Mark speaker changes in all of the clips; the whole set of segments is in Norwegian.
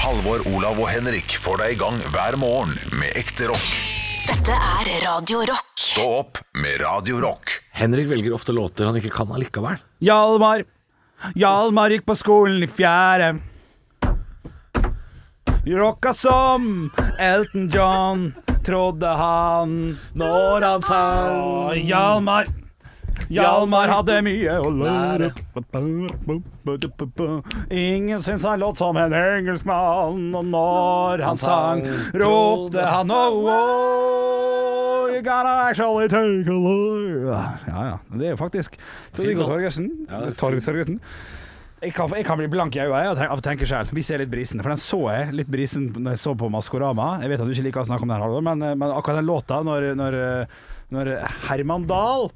Speaker 1: Halvor, Olav og Henrik får deg i gang hver morgen med ekte rock.
Speaker 2: Dette er Radio Rock.
Speaker 1: Stå opp med Radio Rock.
Speaker 3: Henrik velger ofte låter han ikke kan allikevel.
Speaker 4: Hjalmar Hjalmar gikk på skolen i fjerde Rocka som Elton John Trodde han
Speaker 3: Når han sang
Speaker 4: Og Hjalmar Hjalmar hadde mye å lære Ingen syntes han låt som en engelskmann Og når han sang Ropte han oh, oh You gotta actually take a look Ja, ja, det er jo faktisk Torgeir Torgersen Torgeir Torgersen jeg kan, jeg kan bli blank i øynene av å tenke- av å tenke sjøl, hvis jeg er litt brisen. For den så jeg litt brisen når jeg så på Maskorama. Jeg vet at du ikke liker å snakke om den, her, Halvor, men, eh, men akkurat den låta når, når, eh, når Herman Dahl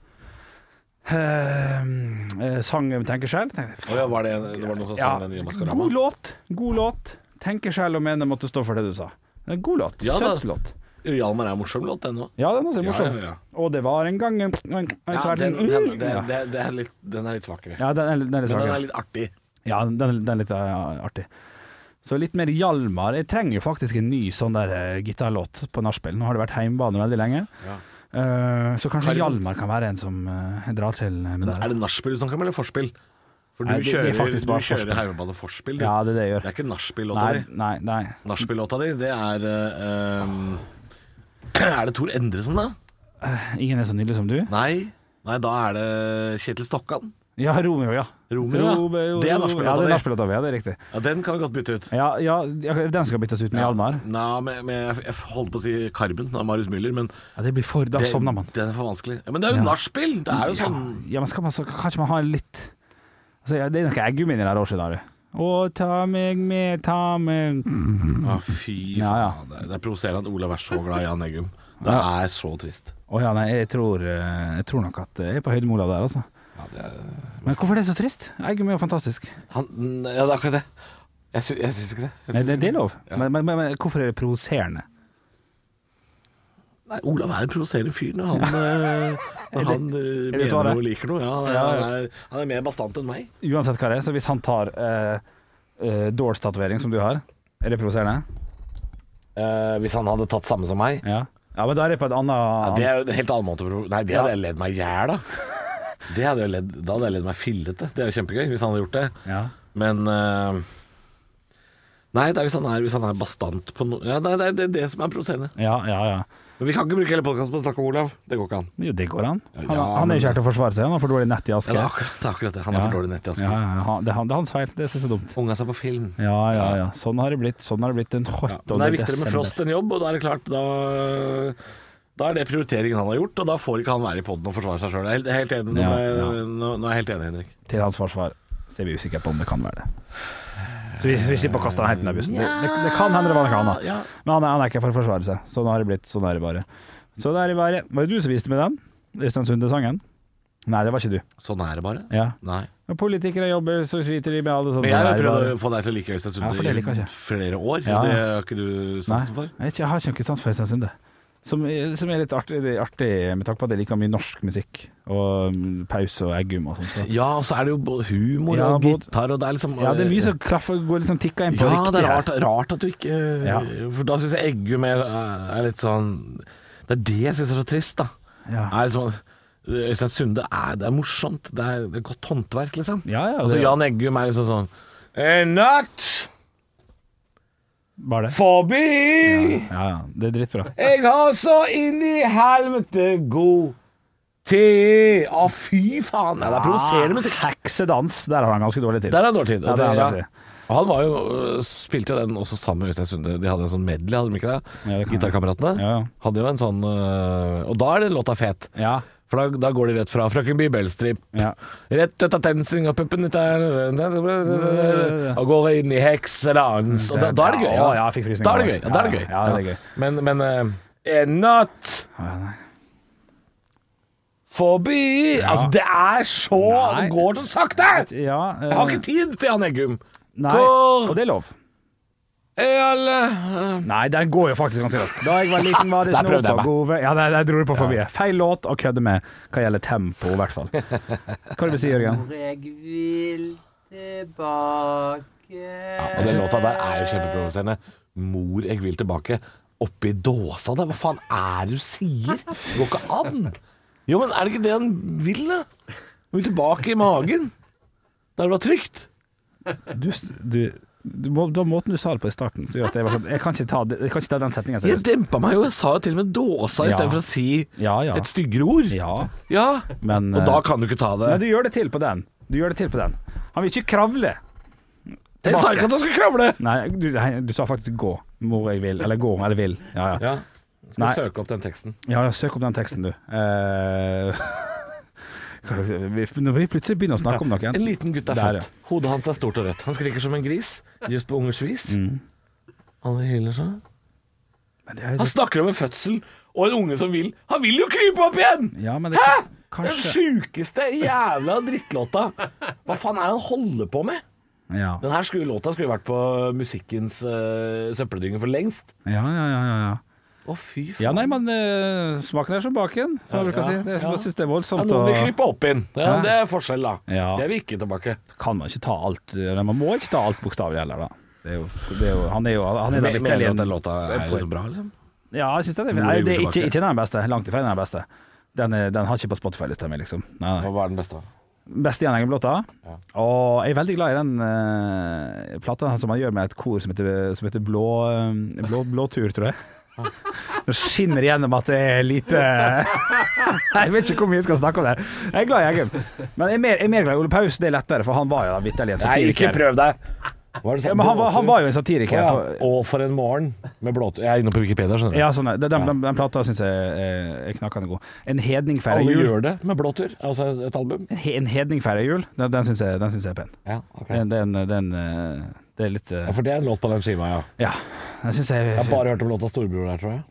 Speaker 4: eh, sang Tenker sjæl
Speaker 3: ja, var det, det var noen som sang den i Maskorama?
Speaker 4: God låt. God låt. Tenker sjæl og mener måtte stå for det du sa. En god låt.
Speaker 3: Ja da.
Speaker 4: Søt låt.
Speaker 3: Hjalmar er en morsom låt, den òg.
Speaker 4: Ja, den også er
Speaker 3: Ja,
Speaker 4: morsom.
Speaker 3: ja, ja.
Speaker 4: Og det var en gang en, en, en,
Speaker 3: Ja,
Speaker 4: svært-
Speaker 3: den, den,
Speaker 4: Mm.
Speaker 3: den,
Speaker 4: ja.
Speaker 3: den, den, er litt- den er litt svakere.
Speaker 4: ja, den er, den er litt
Speaker 3: Men den
Speaker 4: svakere.
Speaker 3: er litt artig.
Speaker 4: Ja, den, den er litt eh, artig. Så litt mer Hjalmar. Jeg trenger jo faktisk en ny sånn der eh, gitarlåt på nachspiel. Nå har det vært heimbane veldig lenge.
Speaker 3: Ja.
Speaker 4: Eh, så kanskje
Speaker 3: Har du-
Speaker 4: Hjalmar kan være en som eh, jeg drar til med der.
Speaker 3: Er det nachspiel du snakker om, eller forspill? For du
Speaker 4: Nei, det- det er
Speaker 3: kjører,
Speaker 4: faktisk
Speaker 3: du
Speaker 4: bare forspill.
Speaker 3: kjører Haumebane forspill, du.
Speaker 4: Ja, det er det jeg
Speaker 3: Det
Speaker 4: gjør.
Speaker 3: er ikke nachspiel-låta
Speaker 4: Nei,
Speaker 3: di.
Speaker 4: nei, nei.
Speaker 3: Nachspiel-låta di, det er eh, um, Er det Tor Endresen, da?
Speaker 4: Ingen er så nydelig som du.
Speaker 3: Nei. Nei, da er det Kjetil Stokkan.
Speaker 4: Ja, Romeo, ja.
Speaker 3: Romeo, ja. Det er nachspiel-låta
Speaker 4: Ja,
Speaker 3: di.
Speaker 4: det er nachspiel-låta mi. Ja, det er riktig.
Speaker 3: Ja, den kan vi godt bytte ut.
Speaker 4: Ja, ja, ja, den skal byttes ut med Hjalmar.
Speaker 3: Nei, men, men jeg, jeg holdt på å si Karben av Marius Müller, men
Speaker 4: Ja, det blir for Da
Speaker 3: det,
Speaker 4: sovner man.
Speaker 3: den er for vanskelig. Ja, men det er jo nachspiel! Det er jo sånn
Speaker 4: Ja, men skal man så, kan ikke man ha litt altså, ja, Det er noe eggum inni der også, der. Å, ta meg med, ta meg
Speaker 3: ah, Fy
Speaker 4: Ja, ja.
Speaker 3: faen. Det er- Det er provoserende at Olav er så glad i Jan Eggum. Det er så trist.
Speaker 4: Å ja, nei, jeg tror, eh, jeg tror nok at jeg er på høyde med Olav der, altså. Men hvorfor er det så trist? Eggum er jo fantastisk.
Speaker 3: Han, ja, det er akkurat det. Jeg, sy jeg syns ikke det. Jeg
Speaker 4: Nei,
Speaker 3: syns
Speaker 4: det, det er lov.
Speaker 3: Ja.
Speaker 4: Men, men, men, men hvorfor er det provoserende?
Speaker 3: Nei, Olav er en provoserende fyr når han, eh, når han eh,
Speaker 4: det
Speaker 3: mener
Speaker 4: svaret?
Speaker 3: noe og liker noe. Ja, han,
Speaker 4: Ja, ja.
Speaker 3: Han, er, han er mer bastant enn meg.
Speaker 4: Uansett hva det er, så hvis han tar uh, Doors-tatovering som du har, er det provoserende?
Speaker 3: Eh, hvis han hadde tatt samme som meg
Speaker 4: Ja. ja, men da er det på et annet
Speaker 3: ja, Det er jo en helt annen måte å provo- Nei, det hadde jeg ledd meg i hjel av. Det hadde jeg ledd- Da hadde jeg ledd meg fillete. Det er jo kjempegøy hvis han hadde gjort det.
Speaker 4: Ja.
Speaker 3: Men eh, Nei, det er hvis han er, hvis han er bastant på noe ja, nei, Det er det, er det som er provoserende.
Speaker 4: ja, ja, ja.
Speaker 3: Men vi kan ikke bruke hele podkasten på å snakke om Olav. Det går ikke an.
Speaker 4: Jo, det går an. Han,
Speaker 3: Ja,
Speaker 4: han er
Speaker 3: men-
Speaker 4: jo ikke her til å forsvare seg, han har for dårlig nett i
Speaker 3: Ja,
Speaker 4: Asker.
Speaker 3: det, er akkurat, det er akkurat det. Han er for dårlig nett i
Speaker 4: Ja,
Speaker 3: Asker.
Speaker 4: ja, han- det, er han- det er hans feil, det synes jeg er dumt.
Speaker 3: Unga seg på film.
Speaker 4: Ja, ja, ja. Sånn har det blitt. Sånn har det blitt en hot
Speaker 3: Ja, men det er viktigere med Frost enn jobb, og da er det klart Da, da er det prioriteringen han har gjort, og da får ikke han være i poden og forsvare seg sjøl. Jeg er helt- helt enig. Nå,
Speaker 4: Ja,
Speaker 3: ble jeg-
Speaker 4: ja.
Speaker 3: nå, nå er jeg helt enig, Henrik.
Speaker 4: Til hans forsvar så er vi usikre på om det kan være det. Så vi, vi slipper å kaste han helt under bussen. Det, det, det kan hende det var noe annet.
Speaker 3: Ja.
Speaker 4: Men han er, han er ikke for å forsvare seg. Sånn har det blitt. Sånn er det bare. Så det er det bare. Var det du som viste med den? Øystein Sunde-sangen? Nei, det var ikke du.
Speaker 3: Sånn er det bare.
Speaker 4: Ja.
Speaker 3: Nei.
Speaker 4: Når politikere jobber, så sliter de med alle sånne
Speaker 3: Men jeg har
Speaker 4: der,
Speaker 3: prøvd
Speaker 4: Sånn bare.
Speaker 3: å få deg til å like Øystein
Speaker 4: Ja, for det
Speaker 3: Sunde
Speaker 4: liker jeg
Speaker 3: i
Speaker 4: ikke.
Speaker 3: flere år.
Speaker 4: Ja, ja.
Speaker 3: Det har ikke du sansen
Speaker 4: Nei,
Speaker 3: for?
Speaker 4: jeg, vet ikke, jeg har ikke sans for Øystein Sunde. Som, som er litt artig, det er artig med tanke på at jeg liker mye norsk musikk. Og mm, Paus og Eggum og sånn. Så.
Speaker 3: Ja, og så er det jo både humor
Speaker 4: Ja,
Speaker 3: og
Speaker 4: både-
Speaker 3: gitar, og det er liksom
Speaker 4: Ja, det er mye som klaffer, går liksom tikka inn på
Speaker 3: Ja,
Speaker 4: riktig
Speaker 3: det er
Speaker 4: her.
Speaker 3: rart, rart at du ikke
Speaker 4: Ja.
Speaker 3: For da syns jeg Eggum er, er litt sånn Det er det jeg syns er så trist, da.
Speaker 4: Ja.
Speaker 3: er liksom Øystein Sunde er, det er morsomt. Det er, det er godt håndverk, liksom.
Speaker 4: Ja, ja,
Speaker 3: altså,
Speaker 4: det-
Speaker 3: Jan Eggum er liksom sånn En natt
Speaker 4: Bare det.
Speaker 3: forbi,
Speaker 4: Ja, ja, det er drittbra.
Speaker 3: jeg har så inn i helvete god tid Å, fy faen! Ja, det er provoserende musikk.
Speaker 4: Heksedans, Ah. der har han ganske dårlig tid.
Speaker 3: Der er han dårlig tid.
Speaker 4: Ja,
Speaker 3: og
Speaker 4: det er
Speaker 3: det-
Speaker 4: han dårlig.
Speaker 3: Og Han var jo, øh, spilte jo den også sammen med Øystein Sunde. De hadde en sånn medley, hadde de ikke det?
Speaker 4: Ja, det kan
Speaker 3: Gitarkameratene.
Speaker 4: Ja, ja.
Speaker 3: Hadde jo en sånn øh, Og da er det låta fet.
Speaker 4: Ja.
Speaker 3: For da, da går de rett fra Frøken Bibelstrip
Speaker 4: Ja.
Speaker 3: Rett ut av tensing og puppen ut av Og går inn i heksedans. Og da, da er det gøy.
Speaker 4: Å, ja, jeg fikk frysninger.
Speaker 3: da er det gøy. Ja, da er det gøy.
Speaker 4: Ja, ja, det er gøy.
Speaker 3: Men, men eh, En natt forbi Altså, det er så
Speaker 4: Nei.
Speaker 3: Det går så sakte!
Speaker 4: Ja, eh,
Speaker 3: Jeg har ikke tid til Jan Eggum.
Speaker 4: Nei,
Speaker 3: Hvor
Speaker 4: og det er lov.
Speaker 3: er alle
Speaker 4: Nei, den går jo faktisk ganske raskt. Da jeg var liten, var det
Speaker 3: Der prøvde jeg
Speaker 4: snop og
Speaker 3: meg.
Speaker 4: gove Ja, der, der dro du på for mye. Feil låt å kødde med hva gjelder tempo, i hvert fall. Hva er det du sier, Jørgen?
Speaker 5: Hvor jeg vil tilbake
Speaker 3: Og den låta der er jo kjempeprovoserende. Mor, jeg vil tilbake. Oppi dåsa der, hva faen er det du sier? Det går ikke an. Jo, men er det ikke det han vil, da? Han vil tilbake i magen. Der det var trygt.
Speaker 4: Du, s- du, du må, da måten du sa det på i starten, så gjør at jeg, var sånn, jeg, kan, ikke ta, det- jeg kan ikke ta den setningen
Speaker 3: Jeg
Speaker 4: seriøst.
Speaker 3: dempa meg jo, jeg sa jo til og med dåsa
Speaker 4: Ja.
Speaker 3: istedenfor å si
Speaker 4: Ja, ja.
Speaker 3: et styggere ord.
Speaker 4: Ja,
Speaker 3: Ja.
Speaker 4: men
Speaker 3: Og
Speaker 4: eh,
Speaker 3: da kan du ikke ta det.
Speaker 4: Men du gjør det til på den. Du gjør det til på den. Han vil ikke kravle.
Speaker 3: jeg sa ikke at han skulle kravle!
Speaker 4: Nei, du, nei, du sa faktisk 'gå'. Mor, jeg vil. Eller 'gå', eller 'vil'. Ja, ja. Nei.
Speaker 3: søke opp den teksten.
Speaker 4: Ja, ja, søk opp den teksten, du. Eh, hva- vi- Når vi plutselig begynner å snakke om noe
Speaker 3: En liten gutt er
Speaker 4: Der,
Speaker 3: født. Hodet hans er stort og rødt. Han skriker som en gris, just på ungers vis. Alle hyler seg.
Speaker 4: Men det er
Speaker 3: Han
Speaker 4: litt,
Speaker 3: snakker om en fødsel og en unge som vil Han vil jo krype opp igjen!
Speaker 4: ja, men det,
Speaker 3: Hæ?! Den
Speaker 4: Kanskje
Speaker 3: sjukeste jævla drittlåta. Hva faen er det han holder på med?
Speaker 4: ja.
Speaker 3: Den her skulle, låta skulle vært på musikkens uh, søppeldynge for lengst.
Speaker 4: Ja, ja, ja, ja, ja.
Speaker 3: Å, fy faen.
Speaker 4: Ja, nei, men eh, smaken er som baken, som jeg bruker å si. Det, jeg synes det er
Speaker 3: Ja,
Speaker 4: voldsomt.
Speaker 3: noen vil
Speaker 4: å-
Speaker 3: krype opp inn. Ja,
Speaker 4: Hæ?
Speaker 3: det er forskjell, da.
Speaker 4: Ja.
Speaker 3: Jeg vil ikke tilbake.
Speaker 4: kan man ikke ta alt eller Man må ikke ta alt bokstavelig heller, da. Det er jo, det er jo, han er jo han er
Speaker 3: Men-
Speaker 4: den vitterlige-
Speaker 3: bra, liksom?
Speaker 4: Ja, jeg synes den er,
Speaker 3: Mor,
Speaker 4: nei,
Speaker 3: jeg vil
Speaker 4: det er ikke,
Speaker 3: tilbake.
Speaker 4: ikke den beste. Langt ifra den er beste. Den, er, den har ikke på Spotify-lista mi, liksom. Nei, nei.
Speaker 3: Hva er den beste?
Speaker 4: Beste Jan Eggen-låta. Og jeg er veldig glad i den eh, plata som han gjør med et kor som heter, som heter Blå, eh, Blå, Blå tur, tror jeg. Nå skinner det gjennom at det er lite Jeg vet ikke hvor mye jeg skal snakke om det. her. Jeg er glad i Eggen. Men jeg er mer, jeg er mer glad i Ole Paus. Det er lettere, for han var jo da vitterlig en satiriker.
Speaker 3: prøv deg! Hva er det
Speaker 4: Ja, men han var, han var jo en satiriker.
Speaker 3: ja.
Speaker 4: på-
Speaker 3: Og for en morgen med blåtur Jeg er inne på Wikipedia, skjønner du.
Speaker 4: Ja, sånn, er det. den, den, den plata syns jeg er, er knakende god. En hedning feirer
Speaker 3: Alle
Speaker 4: jul.
Speaker 3: gjør det med blåtur, altså et album.
Speaker 4: En he- En hedning feirer jul, den, den syns jeg, den synes jeg er pen.
Speaker 3: Ja, ok.
Speaker 4: Den, den, den eh, Det er litt eh,
Speaker 3: Ja, for det er en låt på den skiva, ja.
Speaker 4: Ja. Den syns jeg
Speaker 3: Jeg har bare hørt om låta 'Storbror' der, tror jeg.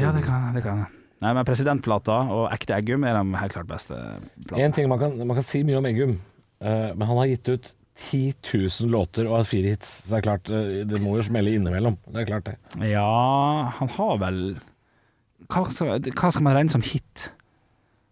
Speaker 4: Ja, det kan det kan jeg. Nei, men Presidentplata og Ekte Eggum er de helt klart beste platene.
Speaker 3: En ting man kan, man kan si mye om Eggum, eh, men han har gitt ut 10 000 låter og har fire hits, så det er klart eh, Det må jo smelle innimellom. Det er klart, det.
Speaker 4: Ja, han har vel hva skal, hva skal man regne som hit?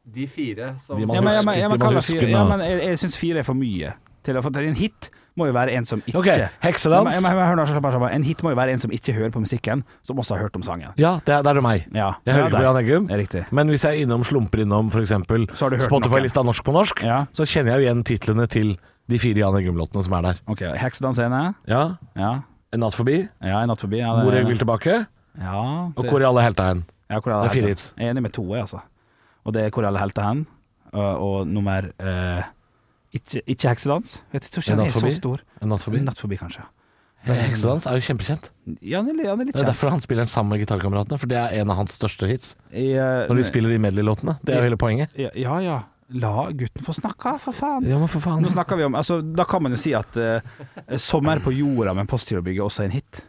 Speaker 5: De fire som
Speaker 3: De man
Speaker 4: Ja, men, ja,
Speaker 3: husker,
Speaker 4: men, ja,
Speaker 3: de
Speaker 4: men,
Speaker 3: man
Speaker 4: kaller
Speaker 3: husker,
Speaker 4: fire, ja,
Speaker 3: da.
Speaker 4: men jeg, jeg syns fire er for mye. Til å få til en hit må jo være en som ikke
Speaker 3: Ok, Heksedans.
Speaker 4: Ja, men- ja, men hør nå, slapp av, slapp av. En hit må jo være en som ikke hører på musikken, som også har hørt om sangen.
Speaker 3: Ja, det er, det er jo meg.
Speaker 4: Ja,
Speaker 3: Jeg hører ikke på Jan Eggum.
Speaker 4: Det er riktig.
Speaker 3: Men hvis jeg er innom, slumper innom f.eks.
Speaker 4: Så har du hørt
Speaker 3: Spotify-lista Norsk på norsk,
Speaker 4: Ja.
Speaker 3: så kjenner jeg jo igjen titlene til de fire Jan Eggum-låtene som er der.
Speaker 4: Ok, Heksedans er en,
Speaker 3: Ja,
Speaker 4: ja.
Speaker 3: En natt forbi,
Speaker 4: ja. En natt forbi. Ja, det-
Speaker 3: Hvor jeg vil tilbake,
Speaker 4: ja,
Speaker 3: og Hvor er alle helta hen.
Speaker 4: ja, hvor
Speaker 3: det er fire
Speaker 4: helter?
Speaker 3: hits.
Speaker 4: Jeg er enig med to, jeg, altså. Og det er Hvor alle helter hen. Og, og nummer eh, ikke, ikke Heksedans. Jeg tror ikke
Speaker 3: En
Speaker 4: den
Speaker 3: natt
Speaker 4: er så
Speaker 3: forbi.
Speaker 4: stor.
Speaker 3: En natt forbi.
Speaker 4: En Natt forbi, kanskje.
Speaker 3: Heksedans er jo kjempekjent.
Speaker 4: Ja, han er, han er litt
Speaker 3: Det er
Speaker 4: kjent.
Speaker 3: derfor han spiller den sammen med gitarkameratene, for det er en av hans største hits.
Speaker 4: I, eh,
Speaker 3: Når de spiller de medley-låtene. Det er jo hele poenget.
Speaker 4: Ja, ja, ja. La gutten få snakke, for faen.
Speaker 3: Ja, men for faen.
Speaker 4: Nå snakker vi om altså, Da kan man jo si at eh, 'Sommer på jorda' med Postgirobygget også er en hit.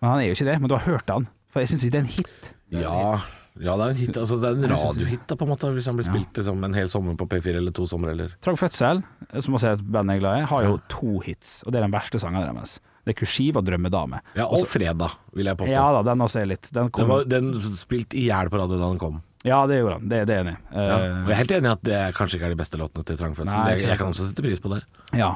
Speaker 4: Men han er jo ikke det. Men du har hørt han. For jeg syns ikke det er en hit.
Speaker 3: Ja, ja, det er en hit. Altså, det er en radiohit, da, på en måte, hvis han blir spilt liksom, en hel sommer på P4 eller to somre eller
Speaker 4: Trang Fødsel, eh, som også er et band jeg er glad i, har jo to hits. Og det er den verste sangen deres. Det er 'Kursiv' og 'Drømmedame'.
Speaker 3: Ja, og fredag, vil jeg påstå.
Speaker 4: Altså- Ja da, den også er litt Den
Speaker 3: Den,
Speaker 4: kom
Speaker 3: var, den spilt i hjel på radio da den kom.
Speaker 4: Ja, det gjorde han. Det, det er jeg enig. i.
Speaker 3: Ja.
Speaker 4: Eh,
Speaker 3: Og jeg er helt enig i at det kanskje ikke er de beste låtene til Trangfødsel.
Speaker 4: Nei,
Speaker 3: Jeg, jeg kan også sette pris på det.
Speaker 4: Ja.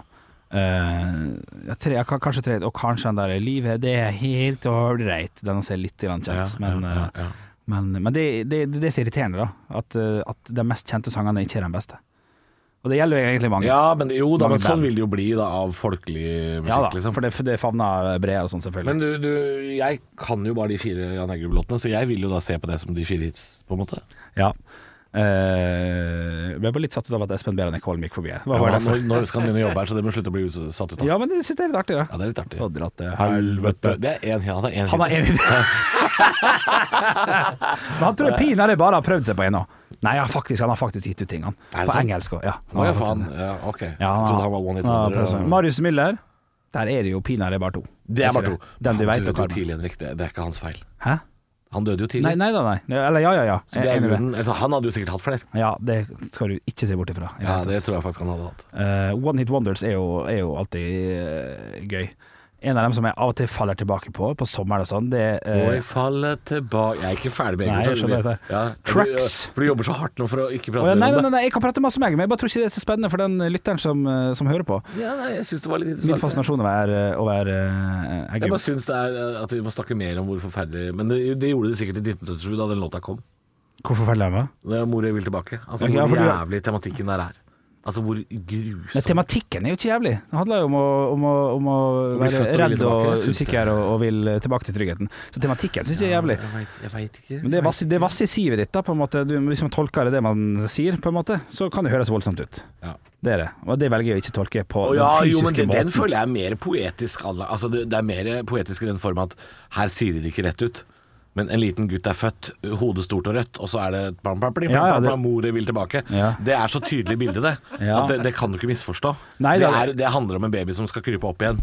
Speaker 4: Eh, ja, tre, ja, ka- kanskje tre, og kanskje den der 'Livet, det er helt ålreit'. Den også er litt grann
Speaker 3: Ja,
Speaker 4: kjent, men,
Speaker 3: ja,
Speaker 4: eh,
Speaker 3: ja, ja.
Speaker 4: men, men det, det, det er så irriterende, da. At, eh, at de mest kjente sangene ikke er de beste. Og det gjelder jo egentlig mange.
Speaker 3: Ja, men jo da, men
Speaker 4: Mange
Speaker 3: sånn
Speaker 4: band.
Speaker 3: vil det jo bli da av folkelig musikk,
Speaker 4: Ja da,
Speaker 3: liksom.
Speaker 4: for det, for det favner bredere og sånn, selvfølgelig.
Speaker 3: Men du, du, jeg kan jo bare de fire Jan Eggum-låtene, så jeg vil jo da se på det som de fire hits, på en måte.
Speaker 4: ja. Eh, jeg ble bare litt satt ut av at Espen Behrenec Holm gikk forbi her. Det var
Speaker 3: Ja,
Speaker 4: bare
Speaker 3: nå,
Speaker 4: derfor.
Speaker 3: nå skal han begynne å jobbe her, så det må slutte å bli ut- satt ut av.
Speaker 4: Ja, men jeg syns det er litt artig, da.
Speaker 3: Ja, det er litt artig.
Speaker 4: Å, dra til
Speaker 3: Helvete. Det er én hit.
Speaker 4: Han har en idé. Men han tror pinadø bare har prøvd seg på en nå. Nei, ja, faktisk, han har faktisk gitt ut ting, han.
Speaker 3: Er det
Speaker 4: På
Speaker 3: sant?
Speaker 4: engelsk òg. Ja,
Speaker 3: Å
Speaker 4: Han
Speaker 3: ja,
Speaker 4: har
Speaker 3: faen.
Speaker 4: faktisk-
Speaker 3: Ja, ok.
Speaker 4: Ja,
Speaker 3: jeg trodde han var one hit
Speaker 4: han har
Speaker 3: wonder.
Speaker 4: prøvd seg. Marius Müller, der er det jo pinadø bare to.
Speaker 3: Det er bare to.
Speaker 4: Den du
Speaker 3: Han
Speaker 4: vet og
Speaker 3: døde jo
Speaker 4: Carmen.
Speaker 3: tidlig, Henrik. Det, det er ikke hans feil.
Speaker 4: Hæ?
Speaker 3: Han døde jo tidlig.
Speaker 4: Nei, nei da, nei. Eller ja, ja, ja.
Speaker 3: så det
Speaker 4: Jeg
Speaker 3: er
Speaker 4: enig i det.
Speaker 3: grunnen. Altså, han hadde jo sikkert hatt flere.
Speaker 4: Ja, det skal du ikke se bort ifra. Eh, i det
Speaker 3: Ja,
Speaker 4: hele tatt.
Speaker 3: det tror jeg faktisk han hadde hatt.
Speaker 4: Eh, One Hit Wonders er jo, er jo alltid eh, gøy. En av dem som jeg av og til faller tilbake på på sommeren og sånn, det er eh,
Speaker 3: Og jeg faller tilbake Jeg er ikke ferdig med
Speaker 4: Nei, jeg
Speaker 3: Egerton.
Speaker 4: skjønner det.
Speaker 3: Ja,
Speaker 4: Tracks.
Speaker 3: For du jobber så hardt nå for å ikke
Speaker 4: å
Speaker 3: prate
Speaker 4: ja,
Speaker 3: mer
Speaker 4: nei, nei,
Speaker 3: om det.
Speaker 4: nei, nei, jeg kan prate masse om Eggen, men jeg bare tror ikke det er så spennende for den lytteren som, eh, som hører på.
Speaker 3: Ja, nei, jeg syns det var litt
Speaker 4: Min
Speaker 3: interessant.
Speaker 4: fascinasjon å være, å være eh,
Speaker 3: Sånn. Jeg
Speaker 4: Eggen.
Speaker 3: bare syns det er eh, at vi må snakke mer om hvor forferdelig Men det, det gjorde det sikkert i 1977, da den låta kom.
Speaker 4: Hvorfor følger jeg med?
Speaker 3: Det er Mor jeg vil tilbake. Altså
Speaker 4: Ok, ja,
Speaker 3: hvor
Speaker 4: for du-
Speaker 3: jævlig tematikken der er. Altså hvor
Speaker 4: Nei,
Speaker 3: grusom
Speaker 4: tematikken er jo ikke jævlig. Det handler jo om å, om å, om å
Speaker 3: bli
Speaker 4: være
Speaker 3: født og ville tilbake,
Speaker 4: redd
Speaker 3: jeg
Speaker 4: og
Speaker 3: synes det-
Speaker 4: usikker og, og vil eh, tilbake til tryggheten. Så tematikken syns jeg er jævlig.
Speaker 3: Jeg vet- Jeg veit ikke.
Speaker 4: Men det er vass det er vass i sivet ditt, da, på en måte. Du, hvis man tolker det man sier, på en måte, så kan det høres voldsomt ut.
Speaker 3: Ja.
Speaker 4: Det er det. Og det velger jeg å ikke tolke på
Speaker 3: Å ja,
Speaker 4: den
Speaker 3: jo, men
Speaker 4: fysiske
Speaker 3: den, den
Speaker 4: måten.
Speaker 3: føler jeg er mer poetisk anlagt. Altså, det, det er mer poetisk i den form at her sier de det ikke rett ut. Men en liten gutt er født, hodet stort og rødt, og så er det et bam, bam, blim,
Speaker 4: Ja,
Speaker 3: bam,
Speaker 4: ja,
Speaker 3: bam,
Speaker 4: det-
Speaker 3: bam, mor vil tilbake.
Speaker 4: Ja.
Speaker 3: Det er så tydelig bilde, det.
Speaker 4: Ja.
Speaker 3: At det, det kan du ikke misforstå.
Speaker 4: Nei,
Speaker 3: det,
Speaker 4: det er-
Speaker 3: er, det handler om en baby som skal krype opp igjen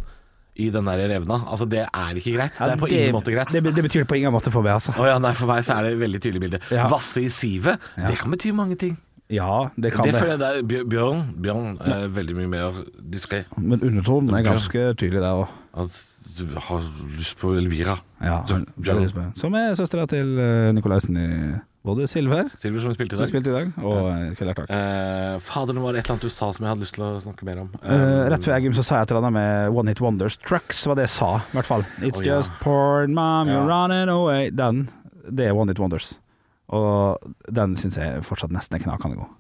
Speaker 3: i den der revna. Altså, det er ikke greit.
Speaker 4: Ja,
Speaker 3: det er på ingen måte greit.
Speaker 4: Det, det betyr det på ingen måte for meg, altså.
Speaker 3: Å ja, nei, for meg så er det et veldig tydelig bilde.
Speaker 4: Ja.
Speaker 3: Vasse i sivet, det kan bety mange ting.
Speaker 4: Ja, det kan
Speaker 3: det,
Speaker 4: det.
Speaker 3: føler jeg det er Bjør- Bjørn, Bjørn er veldig mye mer diskré.
Speaker 4: Men undertonen er ganske tydelig der òg.
Speaker 3: At du har lyst på Elvira.
Speaker 4: Ja,
Speaker 3: Du-
Speaker 4: veldig spennende. som er søstera til eh, Nikolaisen i både Silver,
Speaker 3: Silver som vi spilte i
Speaker 4: som
Speaker 3: dag.
Speaker 4: spilte i dag, og eh, Kjellertak.
Speaker 3: Eh, fader, det var et eller annet du sa som jeg hadde lyst til å snakke mer om.
Speaker 4: Eh, rett før Eggum så sa jeg et eller annet med One Hit Wonders. Trucks var det jeg sa, i hvert fall. It's
Speaker 3: Å, ja.
Speaker 4: just porn, mom, you're
Speaker 3: Ja.
Speaker 4: running away. Den. Det er One Hit Wonders. Og den syns jeg fortsatt nesten er knakende god.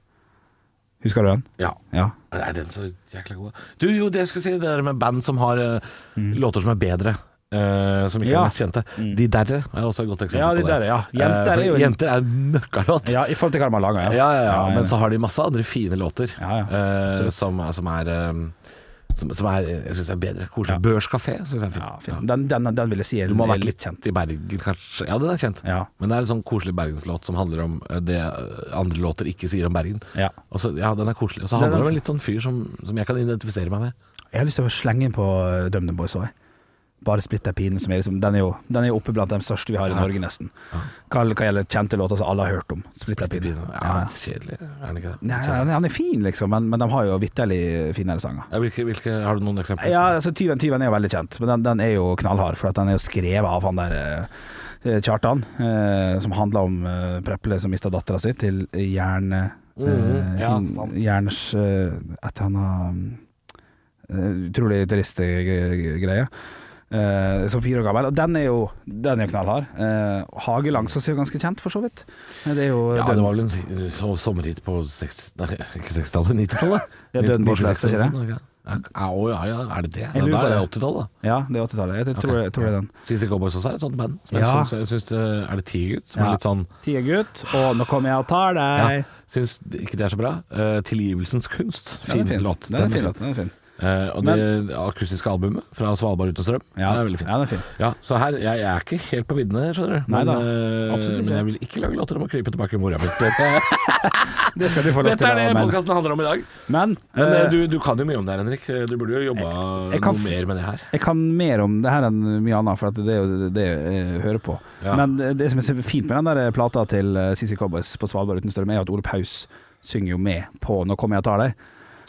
Speaker 4: Husker du den?
Speaker 3: Ja.
Speaker 4: Ja.
Speaker 3: Er den så jækla god? Du, jo, det jeg skulle si, det der med band som har eh, låter som er bedre. eh, som ikke
Speaker 4: Mm. Ja. Mm.
Speaker 3: er mest kjente. De derre er også et godt eksempel
Speaker 4: Ja, De
Speaker 3: på det.
Speaker 4: Derre, ja. Jenter
Speaker 3: Eh, for
Speaker 4: er jo-
Speaker 3: Jenter er møkkalåt.
Speaker 4: ja I forhold til hva de har laga,
Speaker 3: Ja,
Speaker 4: ja.
Speaker 3: ja, ja,
Speaker 4: ja,
Speaker 3: Men så har de masse andre fine låter
Speaker 4: Ja, ja.
Speaker 3: eh,
Speaker 4: Absolutt.
Speaker 3: som, som er eh, som, som er, jeg syns er bedre. Koselig. Børskafé syns jeg er fint.
Speaker 4: ja, fin. Den, den, den vil jeg si er
Speaker 3: Du må ha vært
Speaker 4: litt
Speaker 3: litt
Speaker 4: kjent.
Speaker 3: kjent i Bergen, kanskje. Ja, den er kjent.
Speaker 4: Ja.
Speaker 3: Men det er en sånn koselig bergenslåt som handler om eh, det eh, andre låter ikke sier om Bergen.
Speaker 4: Ja.
Speaker 3: Og så, ja, den er koselig. Og så
Speaker 4: Den
Speaker 3: handler det
Speaker 4: er
Speaker 3: om en litt sånn fyr som, som jeg kan identifisere meg med.
Speaker 4: Jeg har lyst til å slenge inn på eh, Dum Dum Boys òg. Bare Splitter Pine, som er liksom, den, er jo, den er jo oppe blant de største vi har i Norge, nesten. Hva, hva gjelder kjente låter som alle har hørt om. Splitter Pine.
Speaker 3: Ja, kjedelig. Er den ikke det?
Speaker 4: Nei,
Speaker 3: Kjedelig.
Speaker 4: han han er fin, liksom, men, men de har jo vitterlig finere sanger.
Speaker 3: Ja, hvilke, hvilke, har du noen eksempler?
Speaker 4: Ja, altså Tyven tyven er jo veldig kjent, men den, den er jo knallhard. For at den er jo skrevet av han der eh, Kjartan, eh, som handler om eh, Preple som mista dattera si til jern... Eh,
Speaker 3: Mhm, ja,
Speaker 4: hin-
Speaker 3: sant.
Speaker 4: jerns eh, Et eller annet eh, utrolig trist eh, greie. Eh, som fire år gammel. Og den er jo, den er jo knallhard. Eh, Hagelangs er jo ganske kjent, for så vidt. Men Det er jo
Speaker 3: Ja,
Speaker 4: den-
Speaker 3: det var vel en si- så, sommerhit på seks, nei, ikke 60-tallet, 90-tallet.
Speaker 4: Ja, Døden på
Speaker 3: 1996,
Speaker 4: Sløset, ikke
Speaker 3: sånn, ikke? Ja, å, ja, ja, er det det?
Speaker 4: Jeg
Speaker 3: Da
Speaker 4: lurer på
Speaker 3: er det
Speaker 4: det.
Speaker 3: 80-tallet, da.
Speaker 4: Ja, det er 80-tallet. Jeg, tror- jeg tror det er den.
Speaker 3: CC Cowboys også er et sånt band. Som
Speaker 4: Ja.
Speaker 3: jeg synes, jeg synes, eh, er det Tigergutt? Som
Speaker 4: Ja.
Speaker 3: er litt sånn
Speaker 4: Tigergutt, og nå kommer jeg og tar deg.
Speaker 3: ja, Syns ikke det er så bra. Eh, Tilgivelsens kunst.
Speaker 4: Ja,
Speaker 3: Fin
Speaker 4: den er fin.
Speaker 3: låt.
Speaker 4: Den er fin
Speaker 3: fin.
Speaker 4: låt. Den er fin.
Speaker 3: Eh, og det akustiske albumet fra Svalbard uten strøm.
Speaker 4: Ja.
Speaker 3: Det er veldig fint.
Speaker 4: Ja, den er fin.
Speaker 3: Ja, så her, jeg, jeg er ikke helt på viddene, skjønner du. Men,
Speaker 4: Neida,
Speaker 3: eh,
Speaker 4: absolutt
Speaker 3: men
Speaker 4: ikke.
Speaker 3: jeg vil ikke lage låter om å krype tilbake i mora mi. Dette
Speaker 4: Det skal du få lov til.
Speaker 3: er det
Speaker 4: da, men
Speaker 3: podkasten handler om i dag.
Speaker 4: men,
Speaker 3: Men
Speaker 4: eh,
Speaker 3: eh, du, du kan jo mye om det her, Henrik. Eh, Du burde jo jobba
Speaker 4: jeg kan
Speaker 3: noe
Speaker 4: f-
Speaker 3: mer med det her.
Speaker 4: jeg kan mer om det her enn mye annet, for at det er jo det jeg eh, hører på.
Speaker 3: Ja.
Speaker 4: Men det det som er så fint med den der plata til eh, CC Cowboys på Svalbard uten strøm, er jo at Ole Paus synger jo med på 'Nå kommer jeg og tar deg'.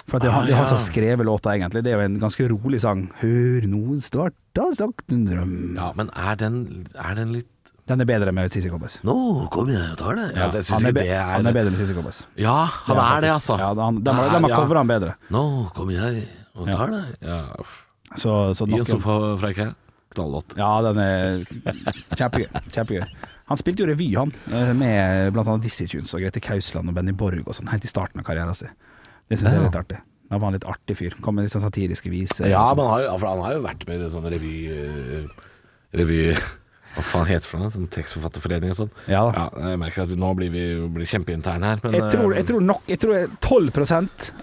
Speaker 4: For at det er han, det er han som har altså skrevet låta, egentlig. Det er jo en ganske rolig sang. 'Hør noen starta slakt en drøm'.
Speaker 3: Ja, men er den, er den litt
Speaker 4: Den er bedre med CC Cowboys.
Speaker 3: Nå kommer jeg og tar det. Ja, altså, jeg syns
Speaker 4: Han er,
Speaker 3: ikke
Speaker 4: be
Speaker 3: det er
Speaker 4: han er bedre med CC Cowboys.
Speaker 3: Ja, han
Speaker 4: Ja,
Speaker 3: er det,
Speaker 4: faktisk.
Speaker 3: altså.
Speaker 4: Ja, han, de, har- de har
Speaker 3: Ja,
Speaker 4: covra han bedre.
Speaker 3: Nå kommer jeg og tar deg. Ja. uff.
Speaker 4: Så, så
Speaker 3: I
Speaker 4: nok
Speaker 3: en
Speaker 4: om-
Speaker 3: sofa fra IKEA. Knallhot.
Speaker 4: Ja, den er kjempegøy. kjempegøy. Han spilte jo revy, han, eh, med bl.a. Dizzie Tunes og Grete Kausland og Benny Borg og sånn, helt i starten av karrieren sin. Det syns jeg er litt artig. Han var en litt artig fyr. Kom med litt sånn satiriske viser.
Speaker 3: Ja,
Speaker 4: og sånn.
Speaker 3: men han har, jo- for han har jo vært med i sånn revy... eh, Revy... Hva faen heter det for noe? Sånn tekstforfatterforening og sånn.
Speaker 4: Ja da.
Speaker 3: jeg merker at vi, nå blir vi blir kjempeinterne her, men
Speaker 4: jeg, tror,
Speaker 3: eh,
Speaker 4: jeg tror nok jeg tror 12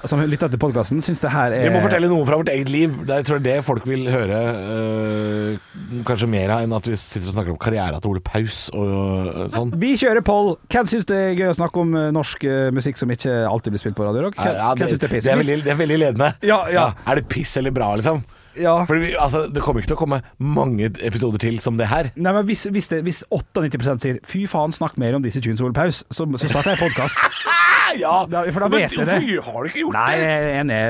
Speaker 4: som lytter til podkasten, syns det her er
Speaker 3: Vi må fortelle noe fra vårt eget liv. Det er, jeg tror det folk vil høre eh, kanskje mer av enn at vi sitter og snakker om karriera til Ole Paus og eh, sånn.
Speaker 4: Vi kjører poll. Hvem syns det er gøy å snakke om eh, norsk eh, musikk som ikke alltid blir spilt på radio rock? Hvem,
Speaker 3: Ja,
Speaker 4: hvem syns det er piss?
Speaker 3: Det er veldig, det er veldig ledende.
Speaker 4: Ja, ja.
Speaker 3: Er det piss eller bra, liksom?
Speaker 4: Ja.
Speaker 3: For vi, altså, det kommer ikke til å komme mange episoder til som det her.
Speaker 4: Nei, men hvis, hvis, det, hvis 98 sier 'fy faen, snakk mer om Dizzie Tunes og Ole Paus', så, så starter jeg podkast.
Speaker 3: ja!
Speaker 4: Da- for da
Speaker 3: Men
Speaker 4: vet jeg det.
Speaker 3: Hvorfor har du ikke gjort
Speaker 4: Nei,
Speaker 3: det?
Speaker 4: jeg er enig.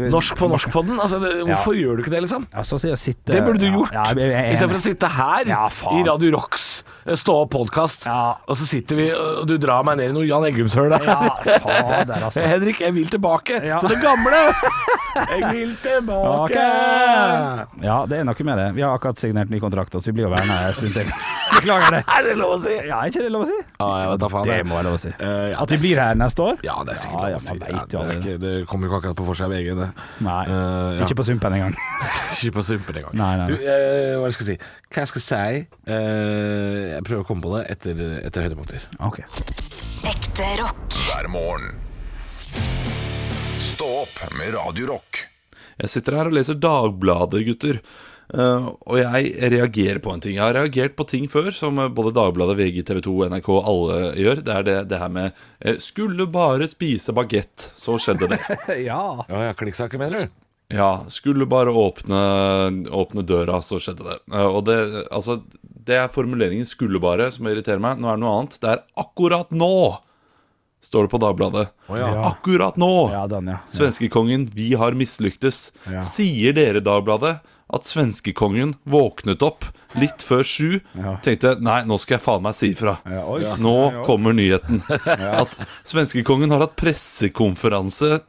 Speaker 4: eh,
Speaker 3: Norsk på norskpodden? Altså, det, hvorfor gjør du ikke det, liksom?
Speaker 4: Altså, så jeg sitter,
Speaker 3: Det burde du gjort.
Speaker 4: Ja, jeg, jeg, jeg,
Speaker 3: I stedet for å sitte her
Speaker 4: Ja, faen.
Speaker 3: i Radio Rocks eh, Stå opp-podkast,
Speaker 4: Ja.
Speaker 3: og så sitter vi og du drar meg ned i noe Jan Eggumshøl der.
Speaker 4: Ja, fader, altså.
Speaker 3: Henrik, jeg vil tilbake
Speaker 4: Ja.
Speaker 3: til det gamle! Jeg vil tilbake!
Speaker 4: Ja, det er noe med det. Vi har akkurat signert ny kontrakt, så vi blir jo værende her en stund til. Beklager det.
Speaker 3: Er det lov å si?
Speaker 4: Ja, er ikke det lov å si?
Speaker 3: Ja, jeg vet da faen.
Speaker 4: Det
Speaker 3: jeg.
Speaker 4: må være lov å si.
Speaker 3: Eh, ja,
Speaker 4: At vi
Speaker 3: det-
Speaker 4: blir her neste år?
Speaker 3: Ja, det er sikkert
Speaker 4: Ja, ja,
Speaker 3: lov å si.
Speaker 4: man vet jo
Speaker 3: det, er
Speaker 4: aldri
Speaker 3: ikke, det kommer jo ikke akkurat på forsida av VG, det.
Speaker 4: Nei.
Speaker 3: Eh, ja.
Speaker 4: Ikke på Sumpen engang.
Speaker 3: Ikke på sumpen engang.
Speaker 4: Nei, nei, nei.
Speaker 3: Du, eh, hva skal jeg si? Hva jeg skal si? Eh, jeg prøver å komme på det etter, etter høydepunkter.
Speaker 4: Ok.
Speaker 2: Ekte rock.
Speaker 1: hver morgen. Stå opp med Radio Rock.
Speaker 6: Jeg sitter her og leser Dagbladet, gutter. Eh, og jeg reagerer på en ting. Jeg har reagert på ting før, som eh, både Dagbladet, VG, TV 2, NRK, alle gjør. Det er det, det her med eh, 'skulle bare spise bagett', så skjedde det.
Speaker 4: Ja.
Speaker 3: Ja, ja, Klikksaker, mener du?
Speaker 6: Ja, skulle bare åpne, åpne døra, så skjedde det. Eh, Og det, altså, det er formuleringen 'skulle bare' som irriterer meg. Nå er det noe annet. Det er 'akkurat nå', står det på Dagbladet.
Speaker 3: ja.
Speaker 6: Akkurat nå!
Speaker 4: Ja, den, ja.
Speaker 6: Svenskekongen, vi har mislyktes. Sier dere, Dagbladet, at svenskekongen våknet opp litt før sju, tenkte 'nei, nå skal jeg faen meg si ifra'.
Speaker 4: Ja, oi.
Speaker 6: Nå kommer nyheten. At svenskekongen har hatt pressekonferanse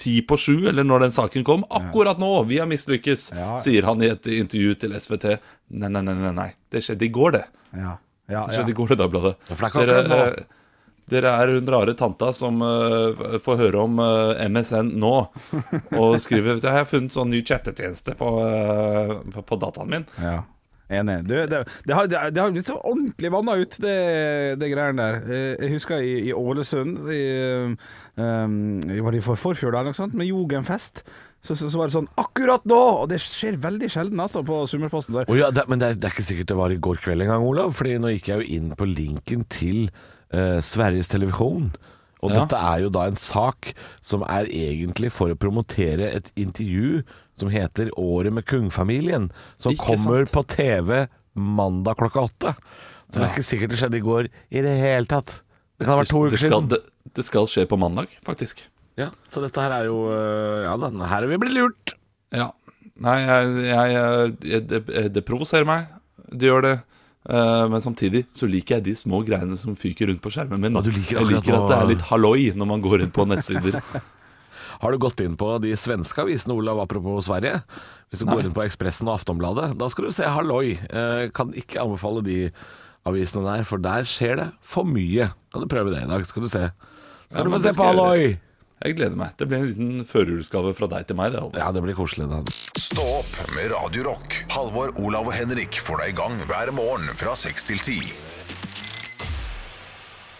Speaker 6: ti på sju, eller når den saken kom. Akkurat nå! Vi har mislykkes, sier han i et intervju til SVT. Nei, nei, nei, nei, nei. det skjedde i går, det.
Speaker 4: Ja. Ja, ja.
Speaker 6: Det skjedde i går, det, Dagbladet.
Speaker 3: for det er ikke
Speaker 6: Dere,
Speaker 3: akkurat nå.
Speaker 6: eh, dere er hun rare tanta som eh, får høre om eh, MSN nå, og skriver vet du, 'Jeg har funnet sånn ny chattetjeneste på, eh, på, på dataen min'.
Speaker 4: Ja. Enig. Du, det, det, har, det har- det har blitt så ordentlig vanna ut, det, det greiene der. Eh, Jeg husker i, i Ålesund, i, um, var det i for- forfjor da, eller noe sånt, med Jugendfest. Så, så, så var det sånn akkurat nå! Og det skjer veldig sjelden, altså, på Summerposten. Der.
Speaker 3: Å ja, det, men det er, det er ikke sikkert det var i går kveld engang, Olav. Fordi nå gikk jeg jo inn på linken til eh, Sveriges Televisjon. Og
Speaker 6: Ja.
Speaker 3: dette er jo da en sak som er egentlig for å promotere et intervju som heter 'Året med kungfamilien', som
Speaker 6: Ikke
Speaker 3: kommer
Speaker 6: sant.
Speaker 3: på TV mandag klokka åtte. Så det er ikke sikkert det skjedde i går i det hele tatt. Det kan ha vært to
Speaker 6: Det
Speaker 3: uker
Speaker 6: skal,
Speaker 3: siden.
Speaker 6: det, det skal skje på mandag, faktisk.
Speaker 3: Ja, så dette her er jo eh, Ja da, her er vi blitt lurt.
Speaker 6: Ja. Nei, jeg, jeg, jeg, det, eh, det provoserer meg. Det gjør det. Eh, men samtidig så liker jeg de små greiene som fyker rundt på skjermen min.
Speaker 3: Ja, du liker
Speaker 6: jeg
Speaker 3: akkurat
Speaker 6: liker at
Speaker 3: nå-
Speaker 6: det er litt halloi når man går inn på nettsider.
Speaker 3: Har du gått inn på de svenske avisene, Olav, apropos Sverige? Hvis du går inn på Ekspressen og Aftonbladet, da skal du se halloi. Eh, kan ikke anbefale de avisene der, for der skjer det for mye. Kan du prøve det i dag, skal du se. Skal
Speaker 6: Ja,
Speaker 3: du
Speaker 6: men
Speaker 3: få
Speaker 6: det
Speaker 3: se på
Speaker 6: skal jeg gjøre.
Speaker 3: halloi!
Speaker 6: Jeg gleder meg. Det blir en liten førjulsgave fra deg til meg. Det, Halvor.
Speaker 3: Ja, det blir koselig. da.
Speaker 1: Stå opp med Radio Rock. Halvor, Olav og Henrik får deg i gang hver morgen fra 6 til 10.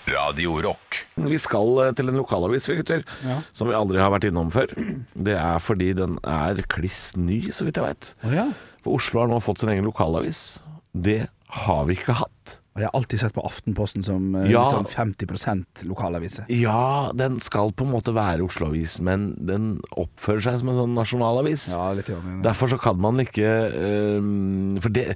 Speaker 1: Radio Rock.
Speaker 3: Vi skal eh, til en lokalavis, vi gutter, som vi aldri har vært innom før. Det er fordi den er kliss ny, så vidt jeg veit.
Speaker 4: ja.
Speaker 3: For Oslo har nå fått sin egen lokalavis. Det har vi ikke hatt.
Speaker 4: Og jeg har alltid sett på Aftenposten som eh,
Speaker 3: Ja.
Speaker 4: liksom 50 lokalavise.
Speaker 3: Ja, den skal på en måte være Oslo-avis, men den oppfører seg som en sånn nasjonalavis.
Speaker 4: Ja, litt grann, ja.
Speaker 3: Derfor så kan man ikke eh, For det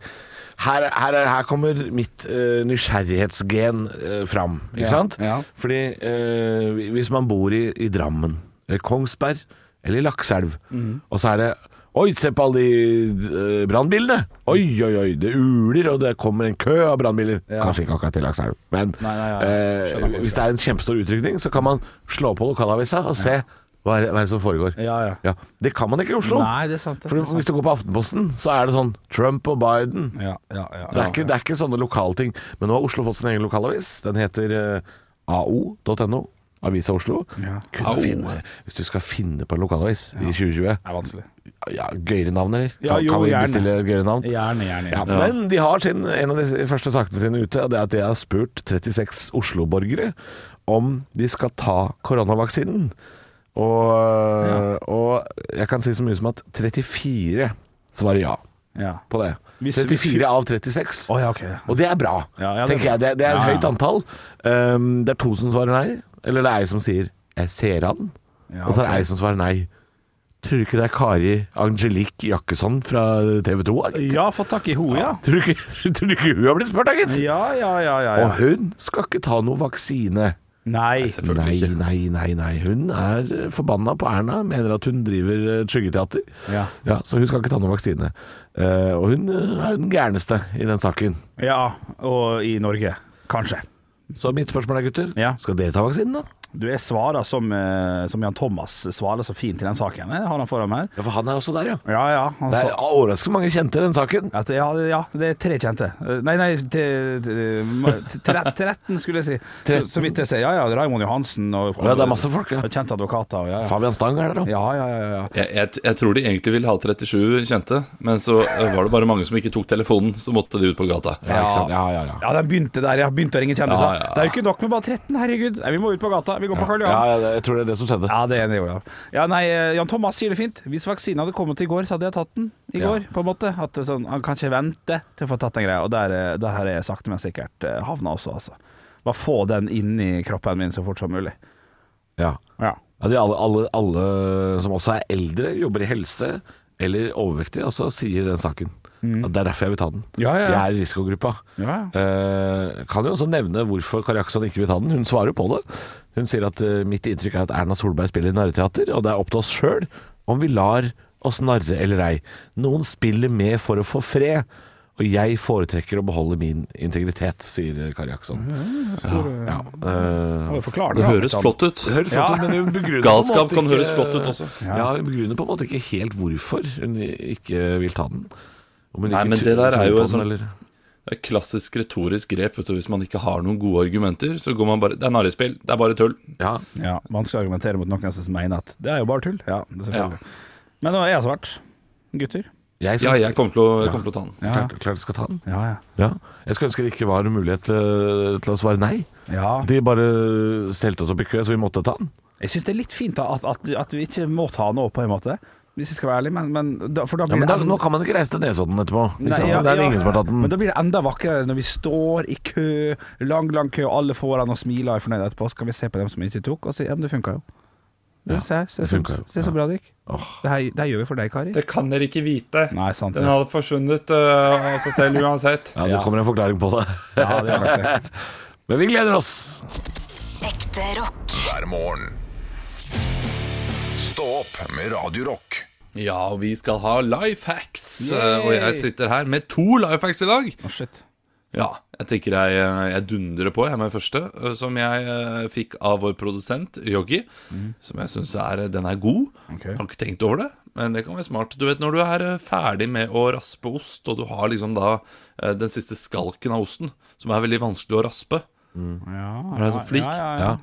Speaker 3: her, her, her kommer mitt eh, nysgjerrighetsgen eh, fram, ikke
Speaker 4: Ja,
Speaker 3: sant?
Speaker 4: ja.
Speaker 3: Fordi eh, hvis man bor i, i Drammen, eller Kongsberg, eller Lakselv,
Speaker 4: Mm.
Speaker 3: og så er det Oi, se på alle de uh, brannbilene! Oi, oi, oi, det uler, og det kommer en kø av brannbiler. Kanskje ikke akkurat til Lakselv, men
Speaker 4: Nei, nei, nei.
Speaker 3: eh,
Speaker 4: Skjønner godt,
Speaker 3: hvis det er en kjempestor utrykning, så kan man slå på lokalavisa og se hva er, hva er det som foregår.
Speaker 4: Ja, ja. Sånn.
Speaker 3: Det kan man ikke i Oslo.
Speaker 4: Nei, det er sant, det
Speaker 3: For
Speaker 4: er sant.
Speaker 3: hvis du går på Aftenposten, så er det sånn Trump og Biden.
Speaker 4: Ja, ja, ja,
Speaker 3: Det er ikke, det er ikke sånne lokalting. Men nå har Oslo fått sin egen lokalavis. Den heter eh, ao.no. Avisa Oslo. Kun å
Speaker 6: AO.
Speaker 3: finne, hvis du skal finne på en lokalavis i 2020
Speaker 4: Det er vanskelig.
Speaker 3: ja, Gøyere navn, eller? Kan,
Speaker 4: Ja, jo,
Speaker 3: kan vi
Speaker 4: gjerne.
Speaker 3: bestille gøyere navn?
Speaker 4: Gjerne, gjerne.
Speaker 3: Ja,
Speaker 4: gjerne.
Speaker 3: men de har sin, en av de første sakene sine ute, og det er at de har spurt 36 Oslo-borgere om de skal ta koronavaksinen. Og, og jeg kan si så mye som at 34 svarer ja
Speaker 4: Ja.
Speaker 3: på det.
Speaker 4: Hvis-
Speaker 3: 34 av 36.
Speaker 4: Å ja, ok.
Speaker 3: Og det er bra,
Speaker 4: Ja, ja, det er
Speaker 3: tenker
Speaker 4: bra.
Speaker 3: jeg. Det, det er et
Speaker 4: Ja, ja.
Speaker 3: høyt antall. Um, det er to som svarer nei, eller det er ei som sier 'jeg ser han',
Speaker 4: Ja,
Speaker 3: og så er det
Speaker 4: ok.
Speaker 3: ei som svarer nei. Tror du ikke det er Kari Angelique Jakkesson fra TV 2?
Speaker 4: Ja, fått tak i henne, ja.
Speaker 3: Tror du ikke, tror du ikke hun har blitt spurt, da, gitt?
Speaker 4: Ja, ja, ja, ja. ja.
Speaker 3: Og hun skal ikke ta noe vaksine.
Speaker 4: Nei.
Speaker 6: Selvfølgelig
Speaker 3: Nei,
Speaker 6: ikke.
Speaker 3: nei, nei, nei. Hun er eh, forbanna på Erna, mener at hun driver eh, skyggeteater.
Speaker 4: Ja.
Speaker 3: så hun skal ikke ta noen vaksine. Eh, og hun eh, er den gærneste i den saken.
Speaker 4: Ja, og i Norge. Kanskje.
Speaker 3: Så mitt spørsmål er, gutter,
Speaker 4: Ja.
Speaker 3: skal dere ta vaksinen, da?
Speaker 4: Du, jeg svarer som, eh, som Jan Thomas svarer så fint i den saken. Jeg har han foran meg her.
Speaker 3: Ja, for han er også der, ja.
Speaker 4: Ja, ja. Han
Speaker 3: Det er
Speaker 4: sa
Speaker 3: overraskende mange kjente i den saken.
Speaker 4: at, ja, ja, det er tre kjente. Eh, Nei, nei, tre- tre- tre- 13 skulle jeg si. Så,
Speaker 3: Tretten.
Speaker 4: så vidt jeg ser. Ja, ja. Raymond Johansen og,
Speaker 3: Ja, det er masse folk, ja.
Speaker 4: og kjente advokater. Og, ja, ja.
Speaker 3: Fabian Stang er der òg.
Speaker 4: Ja, ja, ja, ja.
Speaker 6: Jeg, jeg, jeg tror de egentlig ville ha 37 kjente, men så eh, var det bare mange som ikke tok telefonen, så måtte de ut på gata.
Speaker 3: Ja, ikke sant? ja, ja, ja.
Speaker 4: Ja, den begynte der, ja. Begynte å ringe kjendiser.
Speaker 6: Ja, ja.
Speaker 4: Det er jo ikke nok med bare 13, herregud. Nei, vi må ut på gata. Vi går på Karl
Speaker 3: Ja,
Speaker 4: Johan.
Speaker 3: ja, det- jeg tror det er det som skjedde.
Speaker 4: Ja, det er det jo, ja. ja. Nei, eh, Jan Thomas sier det fint. Hvis vaksinen hadde kommet i går, så hadde jeg tatt den i
Speaker 3: Ja.
Speaker 4: går, på en måte. At det er sånn, Han kan ikke vente til å få tatt den greia. Og der, eh, der har jeg sakte, men sikkert eh, havna også, altså. Bare få den inn i kroppen min så fort som mulig.
Speaker 3: Ja.
Speaker 4: Ja.
Speaker 3: Ja, de alle, alle, alle som også er eldre, jobber i helse eller overvektige, også sier den saken. At det er derfor jeg vil ta den.
Speaker 4: Mm. Ja, ja, ja.
Speaker 3: Jeg er i risikogruppa.
Speaker 4: Ja,
Speaker 3: Eh, kan jo også nevne hvorfor Kari Jaksson ikke vil ta den. Hun svarer jo på det. Hun sier at eh, mitt inntrykk er at Erna Solberg spiller narreteater, og det er opp til oss sjøl om vi lar oss narre eller ei. Noen spiller med for å få fred. Og jeg foretrekker å beholde min integritet, sier Kari Jaksson. Ja, ja. Eh,
Speaker 4: Forklar
Speaker 6: Det høres flott ut.
Speaker 4: Ja.
Speaker 6: Galskap kan høres flott ut også.
Speaker 3: Ja, Hun begrunner på en måte ikke helt hvorfor hun ikke vil ta den. Om hun
Speaker 6: Nei,
Speaker 3: ikke
Speaker 6: men
Speaker 3: tr-
Speaker 6: det der
Speaker 3: tror
Speaker 6: er jo
Speaker 3: på
Speaker 6: en
Speaker 3: den,
Speaker 6: sånn-
Speaker 3: eller-
Speaker 6: Det er et klassisk retorisk grep. Vet du, hvis man ikke har noen gode argumenter, så går man bare Det er narrespill. Det er bare tull.
Speaker 3: Ja,
Speaker 4: Ja, Vanskelig å argumentere mot noen som mener at det er jo bare tull. Ja, det er selvfølgelig. Men nå er jeg svart. Gutter.
Speaker 3: jeg
Speaker 6: Ja,
Speaker 3: synes-
Speaker 6: jeg kommer til å, jeg kommer til å ta den.
Speaker 3: Klart, klart jeg skal ta den.
Speaker 4: Ja, ja.
Speaker 3: Ja. Jeg skulle ønske det ikke var mulighet til, til å svare nei.
Speaker 4: ja.
Speaker 3: De bare stelte oss opp i kø, så vi måtte ta den.
Speaker 4: Jeg syns det er litt fint da, at, at, at vi ikke må ta nå, på en måte. Hvis jeg skal være ærlig, men, men da, for da
Speaker 3: Ja,
Speaker 4: blir
Speaker 3: men
Speaker 4: det
Speaker 3: da,
Speaker 4: en-
Speaker 3: Nå kan man ikke reise til Nesodden etterpå. Ikke
Speaker 4: Nei,
Speaker 3: sant?
Speaker 4: ja,
Speaker 3: det er
Speaker 4: ja.
Speaker 3: ingen som har tatt den.
Speaker 4: Men da blir det enda vakrere når vi står i kø, lang, lang kø, alle foran og smiler og er fornøyde etterpå. Så kan vi se på dem som ikke tok, og si ja, men det funka jo. Du,
Speaker 3: Ja,
Speaker 4: se, se,
Speaker 3: det
Speaker 4: så-
Speaker 3: funka jo,
Speaker 4: se
Speaker 3: ja.
Speaker 4: så bra det gikk.
Speaker 3: Åh.
Speaker 4: Det, her, det her gjør vi for deg, Kari.
Speaker 6: Det kan dere ikke vite.
Speaker 4: Nei, sant.
Speaker 6: Den
Speaker 4: Ja.
Speaker 6: hadde forsvunnet øh, av seg selv uansett.
Speaker 3: Ja, det kommer en forklaring på det.
Speaker 4: Ja, det er verdt det.
Speaker 3: Men vi gleder oss.
Speaker 2: Ekte rock.
Speaker 1: hver morgen. Stå opp med Radio Rock.
Speaker 6: Ja, og vi skal ha life hacks. eh, Og jeg sitter her med to life hacks i dag.
Speaker 4: Å, shit.
Speaker 6: Ja, jeg tenker jeg, jeg dundrer på jeg med første, øh, som jeg øh, fikk av vår produsent Yogi.
Speaker 4: Mhm.
Speaker 6: Som jeg syns er øh, Den er god. Jeg har ikke tenkt over det, men det kan være smart. Du vet når du er øh, ferdig med å raspe ost, og du har liksom da øh, den siste skalken av osten, som er veldig vanskelig å raspe,
Speaker 4: Ja,
Speaker 6: Er det så flink?
Speaker 4: Ja, Mm. ja, ja.
Speaker 3: Ja.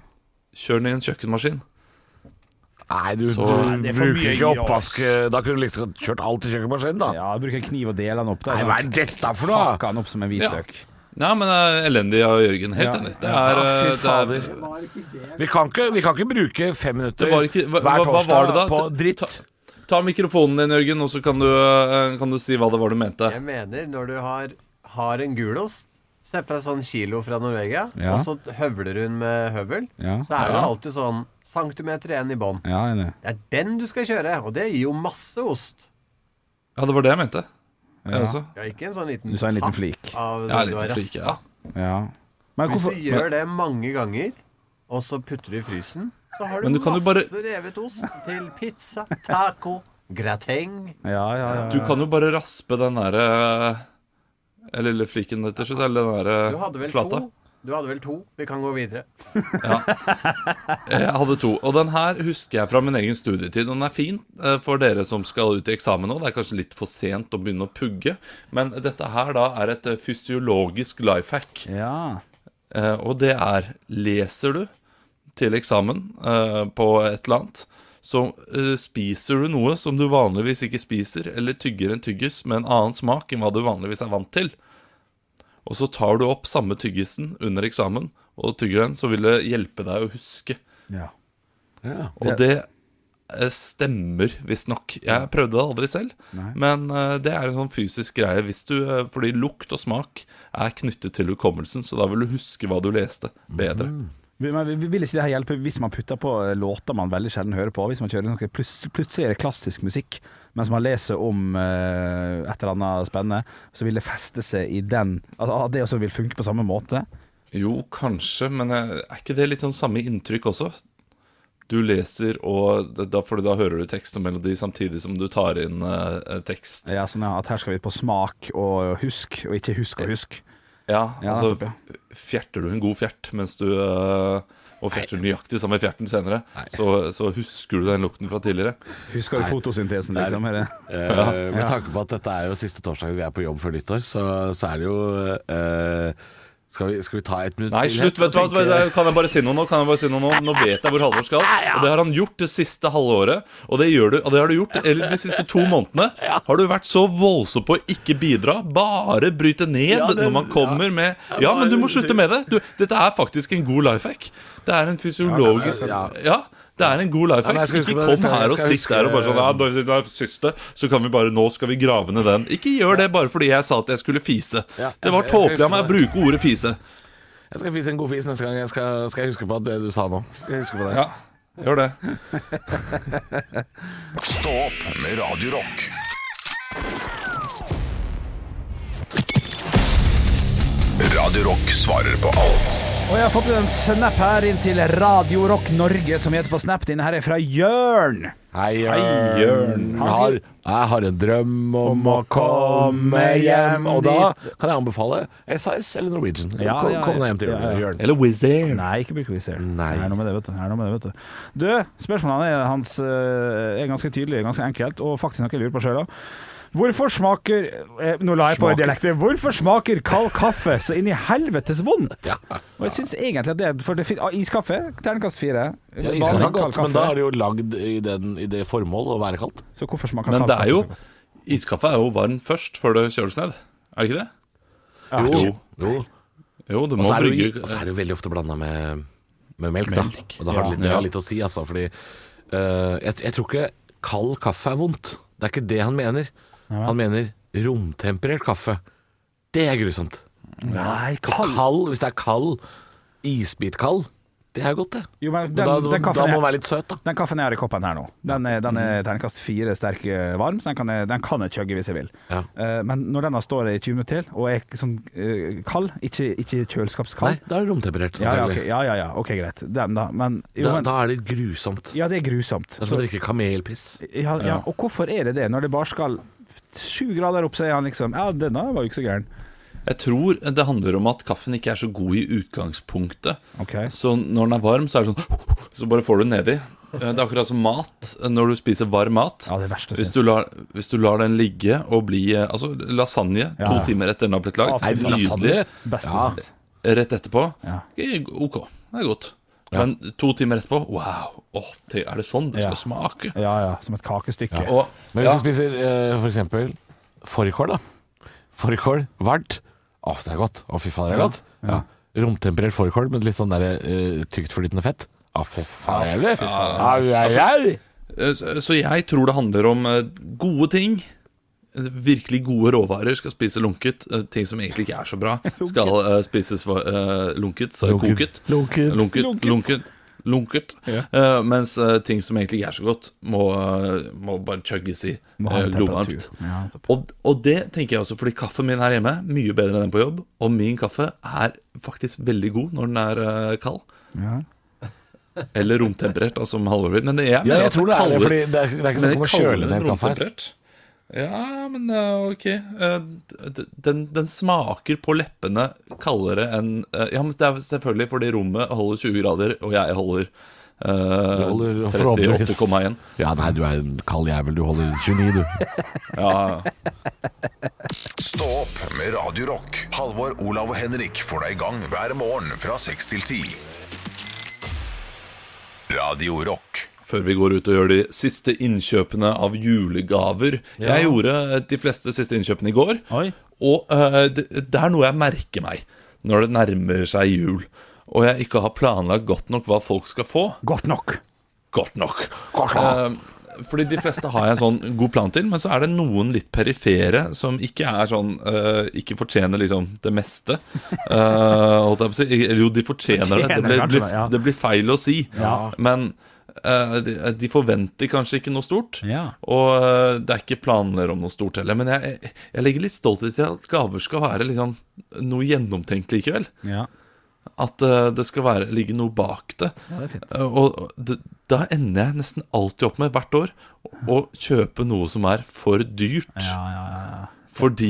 Speaker 6: kjør den i en kjøkkenmaskin.
Speaker 3: Nei, du,
Speaker 6: Så-
Speaker 3: du
Speaker 4: Det er for
Speaker 3: bruker
Speaker 4: mye
Speaker 3: ikke
Speaker 4: jås.
Speaker 3: oppvask Da kunne du liksom kjørt alt i kjøkkenmaskinen, da.
Speaker 4: Ja, jeg bruker en kniv og deler den opp. Der,
Speaker 3: Nei,
Speaker 4: sånn.
Speaker 3: hva er dette for noe?
Speaker 4: Hakka den opp som en hvitløk.
Speaker 6: Nei, men det er elendig av Jørgen. Helt
Speaker 4: Ja.
Speaker 6: enig. Det er,
Speaker 3: Ja, fy
Speaker 6: øh, det er
Speaker 3: fader. eh, Vi kan ikke, vi kan ikke bruke fem minutter
Speaker 6: Det var ikke, hva,
Speaker 3: hver
Speaker 6: hva, hva
Speaker 3: torsdag
Speaker 6: var det da?
Speaker 3: på
Speaker 6: Ta-
Speaker 3: dritt.
Speaker 6: Ta, ta mikrofonen din, Jørgen, og så kan du, eh, kan du si hva det var du mente.
Speaker 7: Jeg mener, når du har, har en gulost Sett fra sånn kilo fra Norvegia,
Speaker 4: Ja.
Speaker 7: og så høvler hun med høvel,
Speaker 4: Ja.
Speaker 7: så er det alltid sånn centimeter igjen i bånn.
Speaker 4: Ja, enig.
Speaker 7: Det er den du skal kjøre, og det gir jo masse ost.
Speaker 6: Ja, det var det jeg mente. Jeg
Speaker 4: Ja.
Speaker 6: også.
Speaker 7: Ja, ikke en sånn liten
Speaker 4: Du sa en liten
Speaker 7: tapp
Speaker 4: flik.
Speaker 7: Av
Speaker 6: Jeg
Speaker 7: det
Speaker 6: er
Speaker 7: du har
Speaker 6: litt flik,
Speaker 7: raspa.
Speaker 6: ja.
Speaker 4: Ja. Men
Speaker 7: Hvis
Speaker 4: hvorfor
Speaker 7: du gjør det mange ganger, og så putter du i frysen, så har du,
Speaker 6: Men du kan jo
Speaker 7: masse
Speaker 6: bare-
Speaker 7: revet ost til pizza, taco, grateng.
Speaker 4: Ja, ja, ja.
Speaker 6: Du kan jo bare raspe den derre Eller lille fliken til slutt, eller den eh,
Speaker 7: Du hadde
Speaker 6: derre
Speaker 7: vel
Speaker 6: flata.
Speaker 7: to? Du hadde vel to? Vi kan gå videre.
Speaker 6: Eh, Jeg hadde to. Og den her husker jeg fra min egen studietid. Den er fin eh, for dere som skal ut i eksamen nå. Det er kanskje litt for sent å begynne å pugge, men dette her da er et eh, fysiologisk life hack.
Speaker 4: Ja.
Speaker 6: Eh, og det er Leser du til eksamen eh, på et eller annet, så eh, spiser du noe som du vanligvis ikke spiser, eller tygger en tyggis med en annen smak enn hva du vanligvis er vant til. Og så tar du opp samme tyggisen under eksamen og tygger den, så vil det hjelpe deg å huske.
Speaker 4: ja.
Speaker 6: Og det eh, stemmer visstnok. Jeg prøvde det aldri selv, men eh, det er en sånn fysisk greie. Hvis du, eh, fordi lukt og smak er knyttet til hukommelsen, så da vil du huske hva du leste, bedre.
Speaker 4: Mhm. Men vi- Vil ikke det her hjelpe hvis man putter på eh, låter man veldig sjelden hører på? Hvis man kjører noe plus, plutselig er det klassisk musikk, mens man leser om eh, et eller annet spennende, så vil det feste seg i den At at det også vil funke på samme måte?
Speaker 6: Jo, kanskje, men eh, er ikke det litt sånn samme inntrykk også? Du leser, og det- da, for da hører du tekst og melodi samtidig som du tar inn eh, tekst.
Speaker 4: Ja, sånn ja, at her skal vi på smak og husk, og ikke husk og husk.
Speaker 6: Ja,
Speaker 4: Ja,
Speaker 6: altså
Speaker 4: nettopp,
Speaker 6: fjerter du en god fjert mens du eh, Og fjerter du nøyaktig samme fjerten senere, så, så husker du den lukten fra tidligere.
Speaker 4: Husker du fotosyntesen, liksom? Er det?
Speaker 3: Eh, med tanke på at dette er jo siste torsdag vi er på jobb før nyttår, så, så er det jo eh, skal, vi, skal vi ta et minutt
Speaker 6: Nei,
Speaker 3: stillhet
Speaker 6: slutt! vet du hva,
Speaker 3: og
Speaker 6: vet du
Speaker 3: tenke-
Speaker 6: hva, Kan jeg bare si noe nå? Kan jeg bare si noe Nå Nå vet jeg hvor Halvor skal. Og det har han gjort det siste halvåret. Og det, gjør du, og det har du gjort eller, de siste to månedene. Har du vært så voldsom på å ikke bidra, bare bryte ned
Speaker 3: Ja, det-
Speaker 6: når man kommer med Ja, men du må slutte med det! Du, dette er faktisk en god life hack. Det er en fysiologisk Ja.
Speaker 3: Ja.
Speaker 6: det er en god life
Speaker 3: Ja, men jeg
Speaker 6: hack.
Speaker 3: skal huske
Speaker 6: ikke
Speaker 3: på det
Speaker 6: kom
Speaker 3: neste gang.
Speaker 6: her
Speaker 3: Jeg
Speaker 6: og
Speaker 3: skal
Speaker 6: sitt
Speaker 3: huske-
Speaker 6: der og bare sånn ja, det er det siste, så kan vi bare Nå skal vi grave ned den. Ikke gjør det bare fordi jeg sa at jeg skulle fise.
Speaker 3: Ja,
Speaker 6: Det
Speaker 3: jeg
Speaker 6: var
Speaker 3: skal- jeg skal
Speaker 6: tåpelig av meg
Speaker 3: huske på
Speaker 6: å
Speaker 3: det.
Speaker 6: bruke ordet fise.
Speaker 3: Jeg skal fise en god fis neste gang. Jeg skal, skal jeg huske på at det du sa nå. Skal jeg huske på det.
Speaker 6: Ja, gjør det.
Speaker 1: Stå opp med Radio Rock. Radio Rock svarer på alt.
Speaker 4: Og jeg har fått en snap her inn til Radio Rock Norge, som heter på snap. Denne her er fra Jørn.
Speaker 3: Hei,
Speaker 6: Hei, Jørn.
Speaker 3: Jørn. Har, jeg har en drøm om å komme hjem. Og da kan jeg anbefale SAS eller Norwegian.
Speaker 4: Ja,
Speaker 3: kom,
Speaker 4: ja,
Speaker 3: kom deg hjem til
Speaker 4: ja, ja.
Speaker 3: Jørn.
Speaker 6: Eller Wizz Air.
Speaker 4: Nei, ikke bruk Wizz Air.
Speaker 3: Nei.
Speaker 4: Det er noe med det, vet du. Det Er noe med det, vet du. du spørsmålene er, hans, eh, er ganske tydelige, ganske enkelt, og faktisk noe jeg lurer på sjøl òg. Hvorfor smaker eh, Nå la jeg på
Speaker 3: Smaker.
Speaker 4: dialekten. Hvorfor smaker kald kaffe så inn i helvetes vondt?
Speaker 3: Ja.
Speaker 4: Og jeg syns egentlig at det er For det fin- ah, iskaffe, terningkast fire.
Speaker 3: Ja,
Speaker 4: Vanlig
Speaker 3: iskaffe er
Speaker 4: kald
Speaker 3: godt, men da
Speaker 4: kaffe.
Speaker 3: er det jo lagd i, den, i det formål å være kaldt.
Speaker 4: Så hvorfor smaker
Speaker 6: Men
Speaker 4: kald
Speaker 6: det er jo
Speaker 4: kaffe så godt?
Speaker 6: Iskaffe er jo varm først før det kjøles ned. Er det ikke det?
Speaker 4: Ja.
Speaker 3: Jo. jo.
Speaker 6: Jo, du
Speaker 3: Og
Speaker 6: må
Speaker 3: så er det jo,
Speaker 6: brygge
Speaker 3: og så er det jo veldig ofte blanda med, med melk, da. Og da har det, litt, det
Speaker 6: Ja.
Speaker 3: har litt å si, altså. Fordi eh, jeg, jeg tror ikke kald kaffe er vondt. Det er ikke det han mener. Han mener romtemperert kaffe. Det er grusomt.
Speaker 4: Nei,
Speaker 3: Kald.
Speaker 4: kald
Speaker 3: hvis det er kald, isbitkald, det er godt, det.
Speaker 4: Jo, men
Speaker 3: Men
Speaker 4: den-
Speaker 3: da,
Speaker 4: den
Speaker 3: da
Speaker 4: kaffen
Speaker 3: må
Speaker 4: er-
Speaker 3: den være litt søt, da.
Speaker 4: Den kaffen jeg har i koppen her nå, den er, den er terningkast fire sterk eh, varm, så den kan jeg, den kan jeg chugge hvis jeg vil.
Speaker 3: Ja.
Speaker 4: Eh, men når den har stått i 20 minutter til, og er sånn eh, kald, ikke, ikke
Speaker 3: Nei,
Speaker 4: kjøleskapskald
Speaker 3: da er det romtemperert.
Speaker 4: ja ja, ok,
Speaker 3: antagelig.
Speaker 4: ja, ja, ja, ok, greit. Den, da. Men, jo,
Speaker 3: da,
Speaker 4: men
Speaker 3: da er det grusomt.
Speaker 4: Ja, det er grusomt.
Speaker 3: Det er som å drikke kamelpiss.
Speaker 4: ja, ja, og hvorfor er det det, når det bare skal sju grader opp, så er han liksom Ja, denne var jo ikke så gæren.
Speaker 6: Jeg tror det handler om at kaffen ikke er så god i utgangspunktet.
Speaker 4: Ok.
Speaker 6: Så når den er varm, så er det sånn Så bare får du den nedi. Eh, Det er akkurat som mat. eh, Når du spiser varm mat
Speaker 4: Ja, det er verst å
Speaker 6: hvis,
Speaker 4: synes.
Speaker 6: du lar, hvis du lar den ligge og bli eh, Altså, lasagne
Speaker 4: Ja, ja.
Speaker 6: to timer etter den har blitt lagd.
Speaker 4: Nei,
Speaker 6: Nydelig.
Speaker 4: Beste sens.
Speaker 6: Rett etterpå.
Speaker 4: Ja.
Speaker 6: ok, OK, det er godt. Men to timer etterpå, wow! Åh, det- er det sånn det
Speaker 4: Ja.
Speaker 6: skal smake?
Speaker 4: Ja ja, som et kakestykke.
Speaker 6: Og,
Speaker 3: Men hvis
Speaker 6: ja.
Speaker 3: du spiser eh, for eksempel fårikål, da. Fårikål vart. Å, det er godt. Å, fy faen, det er godt. Ja. Romtemperert fårikål med litt sånn der, eh, tyktflytende fett. Å, fy faen. det er det. Au, au, au.
Speaker 6: Eh, Så så jeg tror det handler om eh, gode ting. Eh, Virkelig gode råvarer skal spise lunket. Eh, Ting som egentlig ikke er så bra, skal eh, spises eh, lunket. Så
Speaker 3: Lunket.
Speaker 6: koket.
Speaker 3: Lunket.
Speaker 6: Lunket.
Speaker 4: Lunket.
Speaker 6: lunket. lunket. Eh, mens eh, ting som egentlig ikke er så godt, må, eh, må bare chugges i
Speaker 4: Må ha
Speaker 6: eh,
Speaker 4: en temperatur.
Speaker 6: glovarmt.
Speaker 4: Ja, nettopp.
Speaker 6: Og, og det tenker jeg også, fordi kaffen min her hjemme mye bedre enn den på jobb. Og min kaffe er faktisk veldig god når den er eh, kald.
Speaker 4: Ja.
Speaker 6: Eller romtemperert, altså, som Halvor vil. Men jeg,
Speaker 3: Ja,
Speaker 6: mener
Speaker 3: jeg
Speaker 6: at
Speaker 3: tror det er det,
Speaker 6: kalde-
Speaker 3: fordi det er, det er ikke snakk om å
Speaker 6: kaller
Speaker 3: kjøle
Speaker 6: den
Speaker 3: ned kaffe her.
Speaker 6: romtemperert. Ja, men eh, ok Eh, d- d- den, den smaker på leppene kaldere enn eh, Ja, men det er selvfølgelig fordi rommet holder 20 grader, og jeg holder eh,
Speaker 3: Du holder forhåpentligvis-
Speaker 6: 38,1.
Speaker 3: Ja, nei, du er en kald jævel. Du holder 29, du.
Speaker 6: Ja,
Speaker 1: Stå opp med Radio Rock. Halvor, Olav og Henrik får deg i gang hver morgen fra 6 til 10. Radio Rock.
Speaker 6: før vi går ut og gjør de siste innkjøpene av julegaver. Jeg gjorde eh, de fleste siste innkjøpene i går,
Speaker 4: Oi.
Speaker 6: og eh, det, det er noe jeg merker meg når det nærmer seg jul, og jeg ikke har planlagt godt nok hva folk skal få.
Speaker 4: Godt nok.
Speaker 6: godt nok. Eh, fordi de fleste har jeg en sånn god plan til, men så er det noen litt perifere som ikke er sånn eh, Ikke fortjener liksom det meste. Eh, holdt jeg på å si. Eller jo, de fortjener det. Det blir,
Speaker 4: Fortjener kanskje
Speaker 6: blir,
Speaker 4: det, ja.
Speaker 6: det blir feil å si.
Speaker 4: Ja.
Speaker 6: Men eh, de, de forventer kanskje ikke noe stort.
Speaker 4: Ja.
Speaker 6: Og eh, det er ikke planer om noe stort heller. Men jeg, jeg- jeg legger litt stolthet i at gaver skal være liksom noe gjennomtenkt likevel.
Speaker 4: Ja.
Speaker 6: At eh, det skal være, ligge noe bak det.
Speaker 4: Ja, det er fint.
Speaker 6: Eh, og og d- da ender jeg nesten alltid opp med, hvert år, å å kjøpe noe som er for dyrt.
Speaker 4: Ja, ja, ja, ja.
Speaker 6: Fordi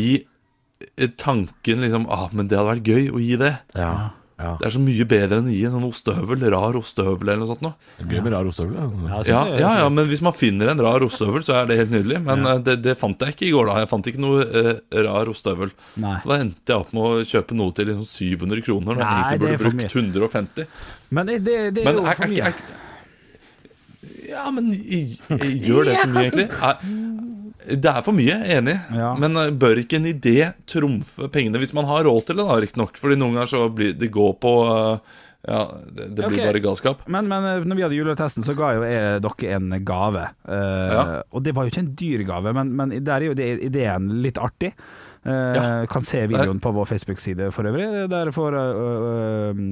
Speaker 6: eh, tanken liksom ah, men det hadde vært gøy å gi det.
Speaker 3: Ja. ja.
Speaker 6: Det er så mye bedre enn å gi en sånn ostehøvel, rar ostehøvel eller noe sånt. Nå.
Speaker 3: Gøy med rar ostehøvel. da.
Speaker 6: Ja, ja, ja, men hvis man finner en rar ostehøvel, så er det helt nydelig. Men eh, det, det fant jeg ikke i går, da. Jeg fant ikke noe eh, rar ostehøvel.
Speaker 4: Nei.
Speaker 6: Så da endte jeg opp med å kjøpe noe til liksom 700 kroner, når
Speaker 4: Nei,
Speaker 6: jeg
Speaker 4: det er
Speaker 6: egentlig
Speaker 4: for
Speaker 6: burde brukt 150.
Speaker 4: Men det, det, det er
Speaker 6: Men
Speaker 4: jo
Speaker 6: er,
Speaker 4: for
Speaker 6: er,
Speaker 4: mye.
Speaker 6: er, Ja, men i- i- gjør det så mye, egentlig. Er, det er for mye, jeg er enig.
Speaker 4: Ja.
Speaker 6: Men eh, bør ikke en idé trumfe pengene, hvis man har råd til det, da, riktignok? Fordi noen ganger så blir det går på eh, Ja, det, det blir
Speaker 4: Ok.
Speaker 6: bare galskap.
Speaker 4: Men, men eh, når vi hadde juletesten, så ga jo jeg dere en gave. Eh,
Speaker 6: Ja.
Speaker 4: Og det var jo ikke en dyr gave, men, men der er jo det, ideen litt artig. Eh,
Speaker 6: Ja.
Speaker 4: Kan se videoen på vår Facebook-side for øvrig. Der får eh,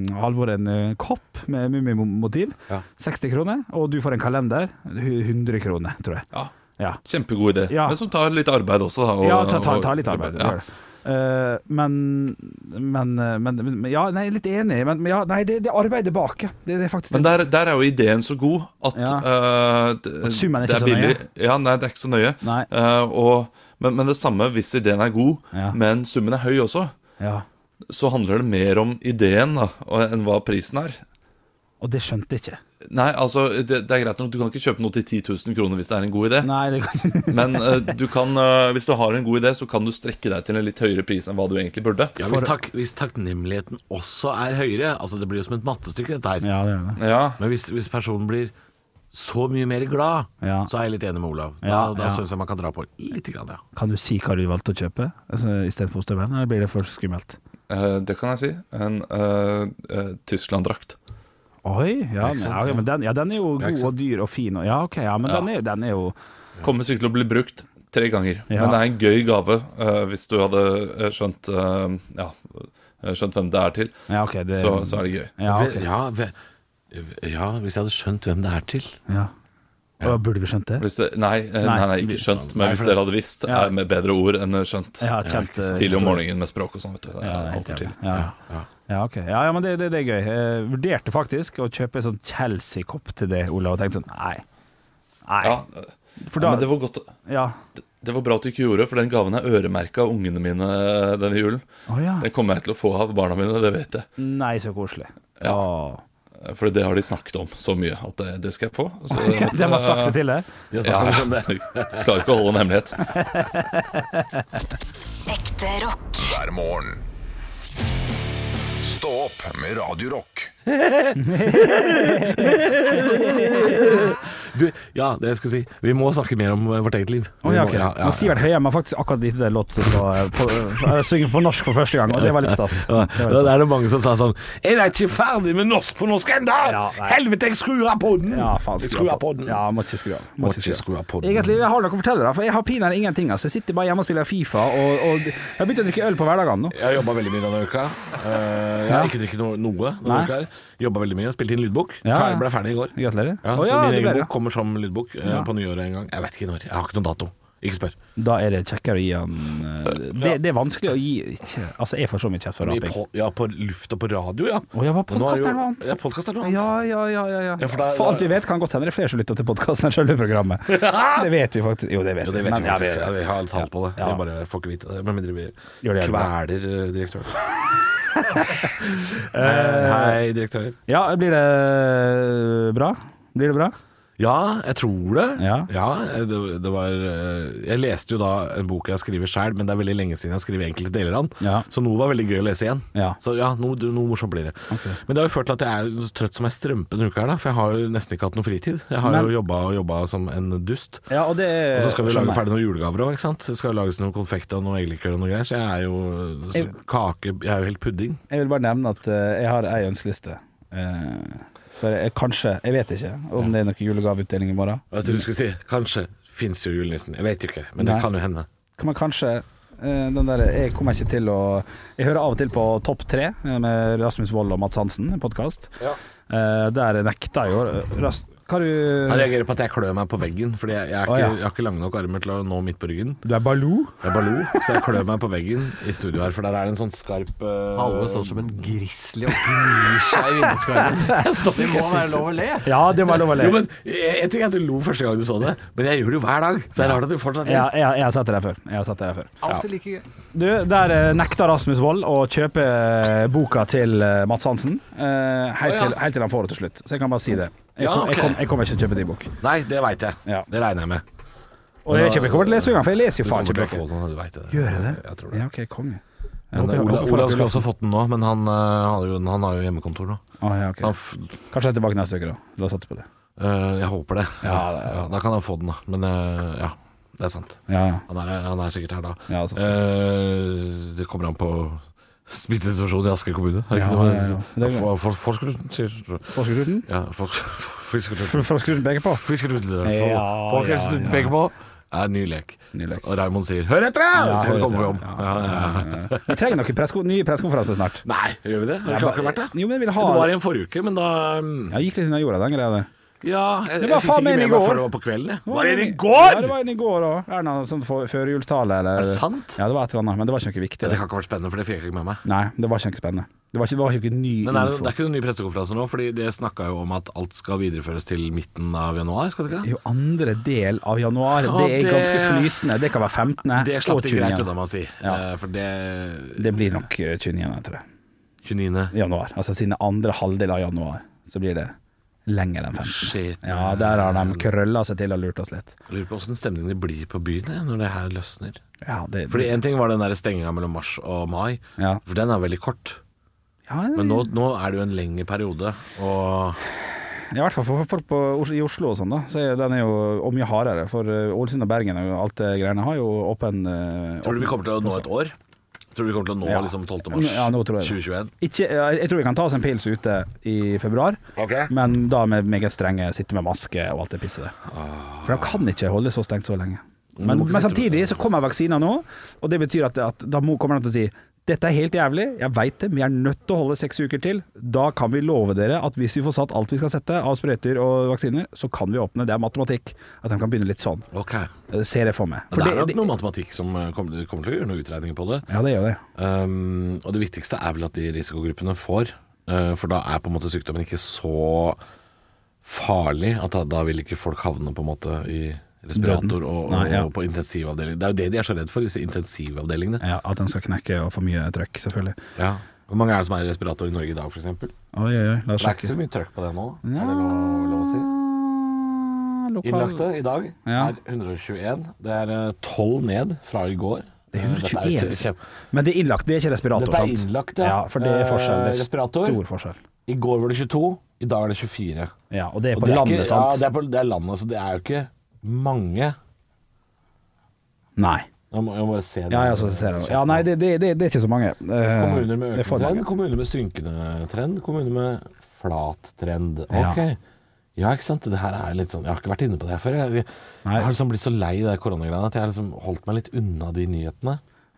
Speaker 4: eh, Halvor en eh, kopp med mummimotiv.
Speaker 3: Ja.
Speaker 4: 60 kroner. Og du får en kalender. 100 kroner, tror jeg.
Speaker 6: Ja,
Speaker 4: Ja.
Speaker 6: Kjempegod idé.
Speaker 4: Ja.
Speaker 6: Men som tar litt arbeid også, da. og-
Speaker 4: Ja, ta, ta, ta litt arbeid. det
Speaker 6: Ja.
Speaker 4: gjør det. Eh, men, men, eh, men, men Ja, nei, jeg er litt enig, men men ja, nei, det, det er arbeidet bak. ja. Det, det er faktisk
Speaker 6: Men der, der er jo ideen så god at,
Speaker 4: Ja.
Speaker 6: eh, d-
Speaker 4: At summen er
Speaker 6: det
Speaker 4: ikke så
Speaker 6: er billig. Ja, nei, det er ikke så nøye.
Speaker 4: Nei.
Speaker 6: Eh, og, men, men det samme hvis ideen er god,
Speaker 4: Ja.
Speaker 6: men summen er høy også,
Speaker 4: Ja.
Speaker 6: så handler det mer om ideen da, og- enn hva prisen er.
Speaker 4: Og det skjønte jeg ikke.
Speaker 6: Nei, altså, det, det er greit nok, du kan ikke kjøpe noe til 10 000 kroner hvis det er en god idé.
Speaker 4: Nei, det kan ikke
Speaker 6: Men eh, du kan, eh, hvis du har en god idé, så kan du strekke deg til en litt høyere pris enn hva du egentlig burde.
Speaker 3: Ja, hvis, takk, hvis takknemligheten også er høyere Altså det blir jo som et mattestykke dette her
Speaker 4: Ja, det er det.
Speaker 6: Ja,
Speaker 3: Men hvis, hvis personen blir så mye mer glad
Speaker 4: Ja.
Speaker 3: Så er jeg litt enig med Olav Da,
Speaker 4: Ja,
Speaker 3: da
Speaker 4: ja.
Speaker 3: synes jeg man kan dra på litt grann, ja.
Speaker 4: Kan du si hva du valgte å kjøpe altså, istedenfor ostehøvelen, eller blir det for skummelt?
Speaker 6: eh, det kan jeg si. En eh, eh, Tyskland-drakt.
Speaker 4: Oi, ja,
Speaker 3: Ikke
Speaker 4: men,
Speaker 3: sant,
Speaker 4: ja, ja, men den, ja, den er jo
Speaker 3: Ja, ikke
Speaker 4: god og dyr og fin. Og, ja, ok, ja, men Den, er, den er jo
Speaker 6: Kommer sikkert til å bli brukt tre ganger.
Speaker 4: Ja.
Speaker 6: Men det er en gøy gave eh, hvis du hadde eh, skjønt eh, Ja, eh, skjønt hvem det er til.
Speaker 4: Ja, ok. Det,
Speaker 6: Så, så er det gøy.
Speaker 4: ja, ok.
Speaker 3: ja, ve- ja, hvis jeg hadde skjønt hvem det er til
Speaker 4: ja. Å, Burde vi skjønt det?
Speaker 6: Hvis det, nei, eh, nei, nei, ikke skjønt, men hvis dere hadde visst,
Speaker 4: Ja.
Speaker 6: er med bedre ord enn skjønt.
Speaker 4: Ja, kjent, eh,
Speaker 6: Tidlig om morgenen med språk og sånn, vet du.
Speaker 4: Ja,
Speaker 6: Det er
Speaker 4: det er
Speaker 6: alt for tidlig.
Speaker 4: helt enig. Ja.
Speaker 3: ja.
Speaker 4: Ja, ok. ja, ja, men det, det, det er gøy. Jeg vurderte faktisk å kjøpe en sånn Chelsea-kopp til det, Olav, og tenkte sånn nei. Nei.
Speaker 6: Ja,
Speaker 4: for
Speaker 6: ja,
Speaker 4: da,
Speaker 6: men det var godt å-
Speaker 4: ja.
Speaker 6: Det var bra at du ikke gjorde, for den gaven er øremerka ungene mine eh, denne julen.
Speaker 4: Å, ja.
Speaker 6: Den kommer jeg til å få av barna mine, det vet jeg.
Speaker 4: Nei, så koselig.
Speaker 6: Ja.
Speaker 4: Å.
Speaker 6: For det har de snakket om så mye at eh, det, det skal jeg få. Så,
Speaker 4: De har sagt det til deg?
Speaker 3: De har
Speaker 6: Ja,
Speaker 3: snakket om det.
Speaker 6: jeg klarer ikke å holde en hemmelighet.
Speaker 2: Ekte rock.
Speaker 1: hver morgen. Stå opp med Radio Rock.
Speaker 3: Du, ja, det jeg skulle si Vi må snakke mer om eh, vårt eget liv
Speaker 4: Å,
Speaker 3: Vi
Speaker 4: ja,
Speaker 3: må-
Speaker 4: ok. Men Sivert Høyem har faktisk akkurat gitt ut en låt på, på, på, synger på norsk for første gang, og det var litt stas.
Speaker 3: Ja,
Speaker 4: Det var
Speaker 3: da
Speaker 4: litt stas.
Speaker 3: er det mange som sa sånn Er jeg ikke ferdig med norsk på norsk enda?
Speaker 4: Ja, nei.
Speaker 3: Helvete, jeg skrur av podden
Speaker 4: Ja, faen,
Speaker 3: Jeg skrur av podden
Speaker 4: Ja, må ikke skru av. Må
Speaker 3: Må
Speaker 4: ikke skru av.
Speaker 3: av podden
Speaker 4: Egentlig jeg har noe å fortelle deg, for jeg har pinadø ingenting. Altså. Jeg sitter bare hjemme og spiller Fifa, og, og jeg har begynt å drikke øl på hverdagene nå.
Speaker 3: Jeg har jobba veldig mye denne uka. Eh, jeg har ikke drukket noe. noe denne
Speaker 4: Nei.
Speaker 3: uka her. Jobba veldig mye, spilte inn lydbok.
Speaker 4: Ja,
Speaker 3: Ferdig,
Speaker 4: ja.
Speaker 3: ble ferdig i går.
Speaker 4: Gratulerer.
Speaker 3: Ja,
Speaker 4: Å,
Speaker 3: så
Speaker 4: ja,
Speaker 3: min
Speaker 4: det
Speaker 3: egen
Speaker 4: ble
Speaker 3: bok kommer som lydbok eh,
Speaker 4: Ja.
Speaker 3: på nyåret en gang. Jeg vet ikke når. Jeg har ikke noen dato. Ikke spør.
Speaker 4: Da er det kjekkere å gi han eh, det, det er vanskelig å gi ikke, Altså, jeg får så mye kjeft for
Speaker 3: I
Speaker 4: raping.
Speaker 3: po ja, på luft og på radio, ja.
Speaker 4: Å, ja, hva
Speaker 3: Men nå
Speaker 4: podcast
Speaker 3: jo-
Speaker 4: er det annet?
Speaker 3: Ja, podcast er noe annet.
Speaker 4: Ja, ja, ja, ja, ja.
Speaker 3: Ja, for da-
Speaker 4: For alt vi vet, kan godt hende det er flere som lytter til podkasten enn selve programmet. Det vet vi faktisk. Jo, det vet
Speaker 3: Jo,
Speaker 4: vi.
Speaker 3: det vet
Speaker 4: men-
Speaker 3: vi
Speaker 4: ja,
Speaker 3: faktisk. Ja, vi har tall på det.
Speaker 4: Ja.
Speaker 3: Vi bare får ikke vite det. Med mindre vi
Speaker 4: Gjør det jævlig bra.
Speaker 3: kveler eh, direktøren. Eh, Hei, direktør.
Speaker 4: Ja, blir det bra? Blir det bra?
Speaker 3: Ja, jeg tror det.
Speaker 4: Ja.
Speaker 3: det, det var eh, Jeg leste jo da en bok jeg skriver sjøl, men det er veldig lenge siden jeg skrev enkelte deler av den.
Speaker 4: Ja.
Speaker 3: Så noe var veldig gøy å lese igjen.
Speaker 4: Ja.
Speaker 3: Så ja, noe, noe morsomt blir det. Men det har jo ført til at jeg er så trøtt som ei strømpe denne uka her, da. For jeg har jo nesten ikke hatt noe fritid. Jeg har
Speaker 4: Men- Eh,
Speaker 3: jo jobba og jobba som en dust.
Speaker 4: Ja, og det
Speaker 3: Og så skal vi lage ferdig noen julegaver òg, ikke sant. Det skal jo lages noen konfekt og noe eggelikør og noe greier. Så jeg er jo så,
Speaker 4: Jeg-
Speaker 3: kake Jeg er jo helt pudding.
Speaker 4: Jeg vil bare nevne at eh, jeg har ei ønskeliste. Eh, for jeg, kanskje, jeg vet ikke om det er noen julegaveutdeling i morgen.
Speaker 3: Og jeg tror du skulle si kanskje fins jo julenissen. Jeg vet jo ikke, men
Speaker 4: Nei.
Speaker 3: det kan jo hende.
Speaker 4: Kan man kanskje eh, den der, Jeg kommer ikke til å Jeg hører av og til på Topp tre eh, med Rasmus Wold og Mats Hansen, en podkast.
Speaker 3: Ja.
Speaker 4: Eh, der nekta jo Ras, Hva
Speaker 3: Jeg
Speaker 4: har du
Speaker 3: reagerer på at jeg klør meg på veggen, Fordi jeg, jeg, er
Speaker 4: Å,
Speaker 3: ikke,
Speaker 4: ja.
Speaker 3: jeg har ikke lange nok armer til å nå midt på ryggen.
Speaker 4: Du er Baloo?
Speaker 3: Jeg er Baloo, så jeg klør meg på veggen i studio her, for der er det en sånn skarp eh,
Speaker 7: Halvor står som en grizzly og gnir seg i vinduskarmen. Det må være lov å le.
Speaker 4: Ja, det var lov å le.
Speaker 3: Jo, men eh, jeg, jeg tenker at du lo første gang du så det, men jeg gjør det jo hver dag. Så det er rart at du fortsatt
Speaker 4: Ja,
Speaker 3: ler.
Speaker 4: jeg, jeg har sett det der før. Jeg har sett det der før.
Speaker 7: Alltid like gøy.
Speaker 4: Du, Der eh, nekta Rasmus Wold å kjøpe eh, boka til eh, Mats Hansen. eh,
Speaker 3: Å, ja.
Speaker 4: helt, til, helt til han får det til slutt. Så jeg kan bare si det. Jeg,
Speaker 3: Ja,
Speaker 4: kom,
Speaker 3: ok.
Speaker 4: jeg, kom, jeg kommer ikke til å kjøpe din bok.
Speaker 3: Nei, det veit jeg.
Speaker 4: Ja.
Speaker 3: Det regner jeg med.
Speaker 4: Og jeg, kommer- jeg kommer til å lese den, for jeg leser jo
Speaker 3: Du
Speaker 4: faen
Speaker 3: kommer
Speaker 4: ikke
Speaker 3: til å få
Speaker 4: bøker.
Speaker 3: den, og du veit det.
Speaker 4: Gjør jeg det?
Speaker 3: Jeg tror det.
Speaker 4: Ja, OK, konge. Jeg
Speaker 3: Men, eh,
Speaker 4: håper-
Speaker 3: Ola,
Speaker 4: jeg håper folk
Speaker 3: Olav
Speaker 4: har
Speaker 3: skulle
Speaker 4: lest
Speaker 3: også fått den nå, men han, eh, har, jo, han har jo hjemmekontor nå.
Speaker 4: den. Å, ja, ok.
Speaker 3: Så han, f-
Speaker 4: Kanskje jeg er tilbake neste uke, da. La oss satse på det.
Speaker 3: eh, jeg håper det.
Speaker 4: Ja, det er-
Speaker 3: Ja, da kan han få den, da. Men eh, ja, det er sant.
Speaker 4: Ja, ja.
Speaker 3: Han er, han er sikkert her da.
Speaker 4: Ja, altså.
Speaker 3: Eh, det kommer an på smittesituasjonen i Asker kommune. Har ikke
Speaker 4: Ja,
Speaker 3: noe-
Speaker 4: ja, ja. Det er-
Speaker 3: For- for- Forskeruten sier
Speaker 4: Forskeruten?
Speaker 3: Ja, for- for- fiskeruten.
Speaker 4: Forskeruten peker på.
Speaker 3: Fiskerudler.
Speaker 4: Ja,
Speaker 3: Folkehelsen
Speaker 4: ja, ja.
Speaker 3: peker på, er ny lek.
Speaker 4: Ny lek.
Speaker 3: Og Raymond sier 'hør etter', da!»
Speaker 4: Ja,
Speaker 3: Så
Speaker 4: hør
Speaker 3: kommer vi
Speaker 4: etter,
Speaker 3: om.
Speaker 4: ja.
Speaker 3: Ja, ja, ja.
Speaker 4: Vi trenger noen pressko nye pressekonferanser snart.
Speaker 3: Nei, gjør vi det? Har det ikke akkurat vært det?
Speaker 4: Jo, men jeg vil
Speaker 3: Det
Speaker 4: ha
Speaker 3: var i en forrige uke, men da um,
Speaker 4: Jeg gikk litt unna jorda, den greia der.
Speaker 3: Ja, jeg, jeg
Speaker 4: Det var
Speaker 3: fikk
Speaker 4: faen
Speaker 3: ikke
Speaker 4: meg
Speaker 3: med
Speaker 4: i
Speaker 3: meg
Speaker 4: går.
Speaker 3: før det var på kvelden. jeg. Var det en i
Speaker 4: Ja, det
Speaker 3: går?!
Speaker 4: var en i går òg. Erna sånn for- førjulstale eller
Speaker 3: Er det sant?
Speaker 4: Ja, det var et eller annet, men det var ikke noe viktig.
Speaker 3: Det kan ikke ha vært spennende, for det fikk jeg ikke med meg.
Speaker 4: Nei, det var ikke noe spennende. Det var ikke, det var ikke noe ny
Speaker 3: Men er det,
Speaker 4: info.
Speaker 3: det er ikke noen ny pressekonferanse nå, Fordi det snakka jo om at alt skal videreføres til midten av januar, skal det
Speaker 4: Det er
Speaker 3: ikke?
Speaker 4: jo andre del av januar.
Speaker 3: Ja,
Speaker 4: det er
Speaker 3: det-
Speaker 4: ganske flytende. Det kan være 15.
Speaker 3: Det slapp
Speaker 4: og
Speaker 3: de greit
Speaker 4: 29.
Speaker 3: unna med å si,
Speaker 4: Ja.
Speaker 3: eh, for det
Speaker 4: Det blir nok eh, 29. tror jeg.
Speaker 3: 29.
Speaker 4: Januar. Altså siden andre halvdel av januar, så blir det lenger enn 15.
Speaker 3: Shit.
Speaker 4: Ja, der har de krølla seg til og lurt oss litt.
Speaker 3: Jeg Lurer på åssen stemningen det blir på byen jeg, når det her løsner.
Speaker 4: Ja, det,
Speaker 3: Fordi En ting var den der stenginga mellom mars og mai,
Speaker 4: Ja.
Speaker 3: for den er veldig kort.
Speaker 4: ja,
Speaker 3: Men nå, nå er det jo en lengre periode, og
Speaker 4: I hvert fall for folk på, Os- i Oslo og sånn, da. Så er den er jo og mye hardere. For eh, Ålesund og Bergen og alt det greiene har jo åpen eh,
Speaker 3: Tror du vi
Speaker 4: åpen-
Speaker 3: kommer til å nå et år? Tror du vi kommer til å nå
Speaker 4: Ja.
Speaker 3: liksom 12. mars
Speaker 4: Ja, nå tror jeg det.
Speaker 3: 2021?
Speaker 4: Ikke, jeg, jeg tror vi kan ta oss en pils ute i februar, men da med meget strenge sitte med maske og alt det pisset der. For de kan ikke holde så stengt så lenge. Men, men samtidig så kommer vaksiner nå, og det betyr at, at da må, kommer de til å si dette er helt jævlig, jeg veit det, men jeg er nødt til å holde seks uker til. Da kan vi love dere at hvis vi får satt alt vi skal sette av sprøyter og vaksiner, så kan vi åpne. Det er matematikk. At de kan begynne litt sånn.
Speaker 3: Ok.
Speaker 4: Det Ser jeg for meg. For
Speaker 3: det er nok noe matematikk som eh, kommer, kommer til å gjøre noen utregninger på det.
Speaker 4: ja, det gjør det.
Speaker 3: Um, og det viktigste er vel at de risikogruppene får, eh, for da er på en måte sykdommen ikke så farlig at da, da vil ikke folk havne på en måte i respirator og, og,
Speaker 4: Nei, ja.
Speaker 3: og på intensivavdeling. Det er jo det de er så redd for, disse intensivavdelingene.
Speaker 4: Ja, at de skal knekke og få mye trøkk, selvfølgelig.
Speaker 3: Ja. Hvor mange er det som er i respirator i Norge i dag, f.eks.? Det
Speaker 4: Oi, oi, oi, la
Speaker 3: er
Speaker 4: oss
Speaker 3: ikke
Speaker 4: sjekke.
Speaker 3: så mye trøkk på det nå, er det lov, lov å si?
Speaker 4: Ah,
Speaker 3: Innlagte i dag
Speaker 4: Ja.
Speaker 3: er 121. Det er eh, 12 ned fra i går.
Speaker 4: Det er
Speaker 3: Eh, dette jo
Speaker 4: 121.
Speaker 3: kjem-
Speaker 4: Men det er innlagt, det er ikke respirator,
Speaker 3: Dette er
Speaker 4: sant?
Speaker 3: innlagt,
Speaker 4: ja.
Speaker 3: ja.
Speaker 4: for det er forskjell. Det
Speaker 3: Eh,
Speaker 4: er
Speaker 3: respirator.
Speaker 4: Stor forskjell.
Speaker 3: I går var det 22, i dag er det 24.
Speaker 4: Ja, og det er
Speaker 3: Og
Speaker 4: på
Speaker 3: det er
Speaker 4: landet,
Speaker 3: ikke,
Speaker 4: sant?
Speaker 3: Ja, det er, på, det er landet, så det er jo ikke mange.
Speaker 4: Nei.
Speaker 3: Jeg må, jeg må bare se det.
Speaker 4: Ja, ja, så ser jeg. ja nei, det, det, det, det er ikke så mange. Eh,
Speaker 3: Kommuner med
Speaker 4: det er for
Speaker 3: økende trend,
Speaker 4: mange.
Speaker 3: kommuner med synkende trend, kommuner med flat trend.
Speaker 4: Ja.
Speaker 3: Ok. Ja, ikke sant. Det her er litt sånn Jeg har ikke vært inne på det her før. Jeg, jeg,
Speaker 4: Nei.
Speaker 3: jeg har liksom blitt så lei det koronagreiene at jeg har liksom holdt meg litt unna de nyhetene.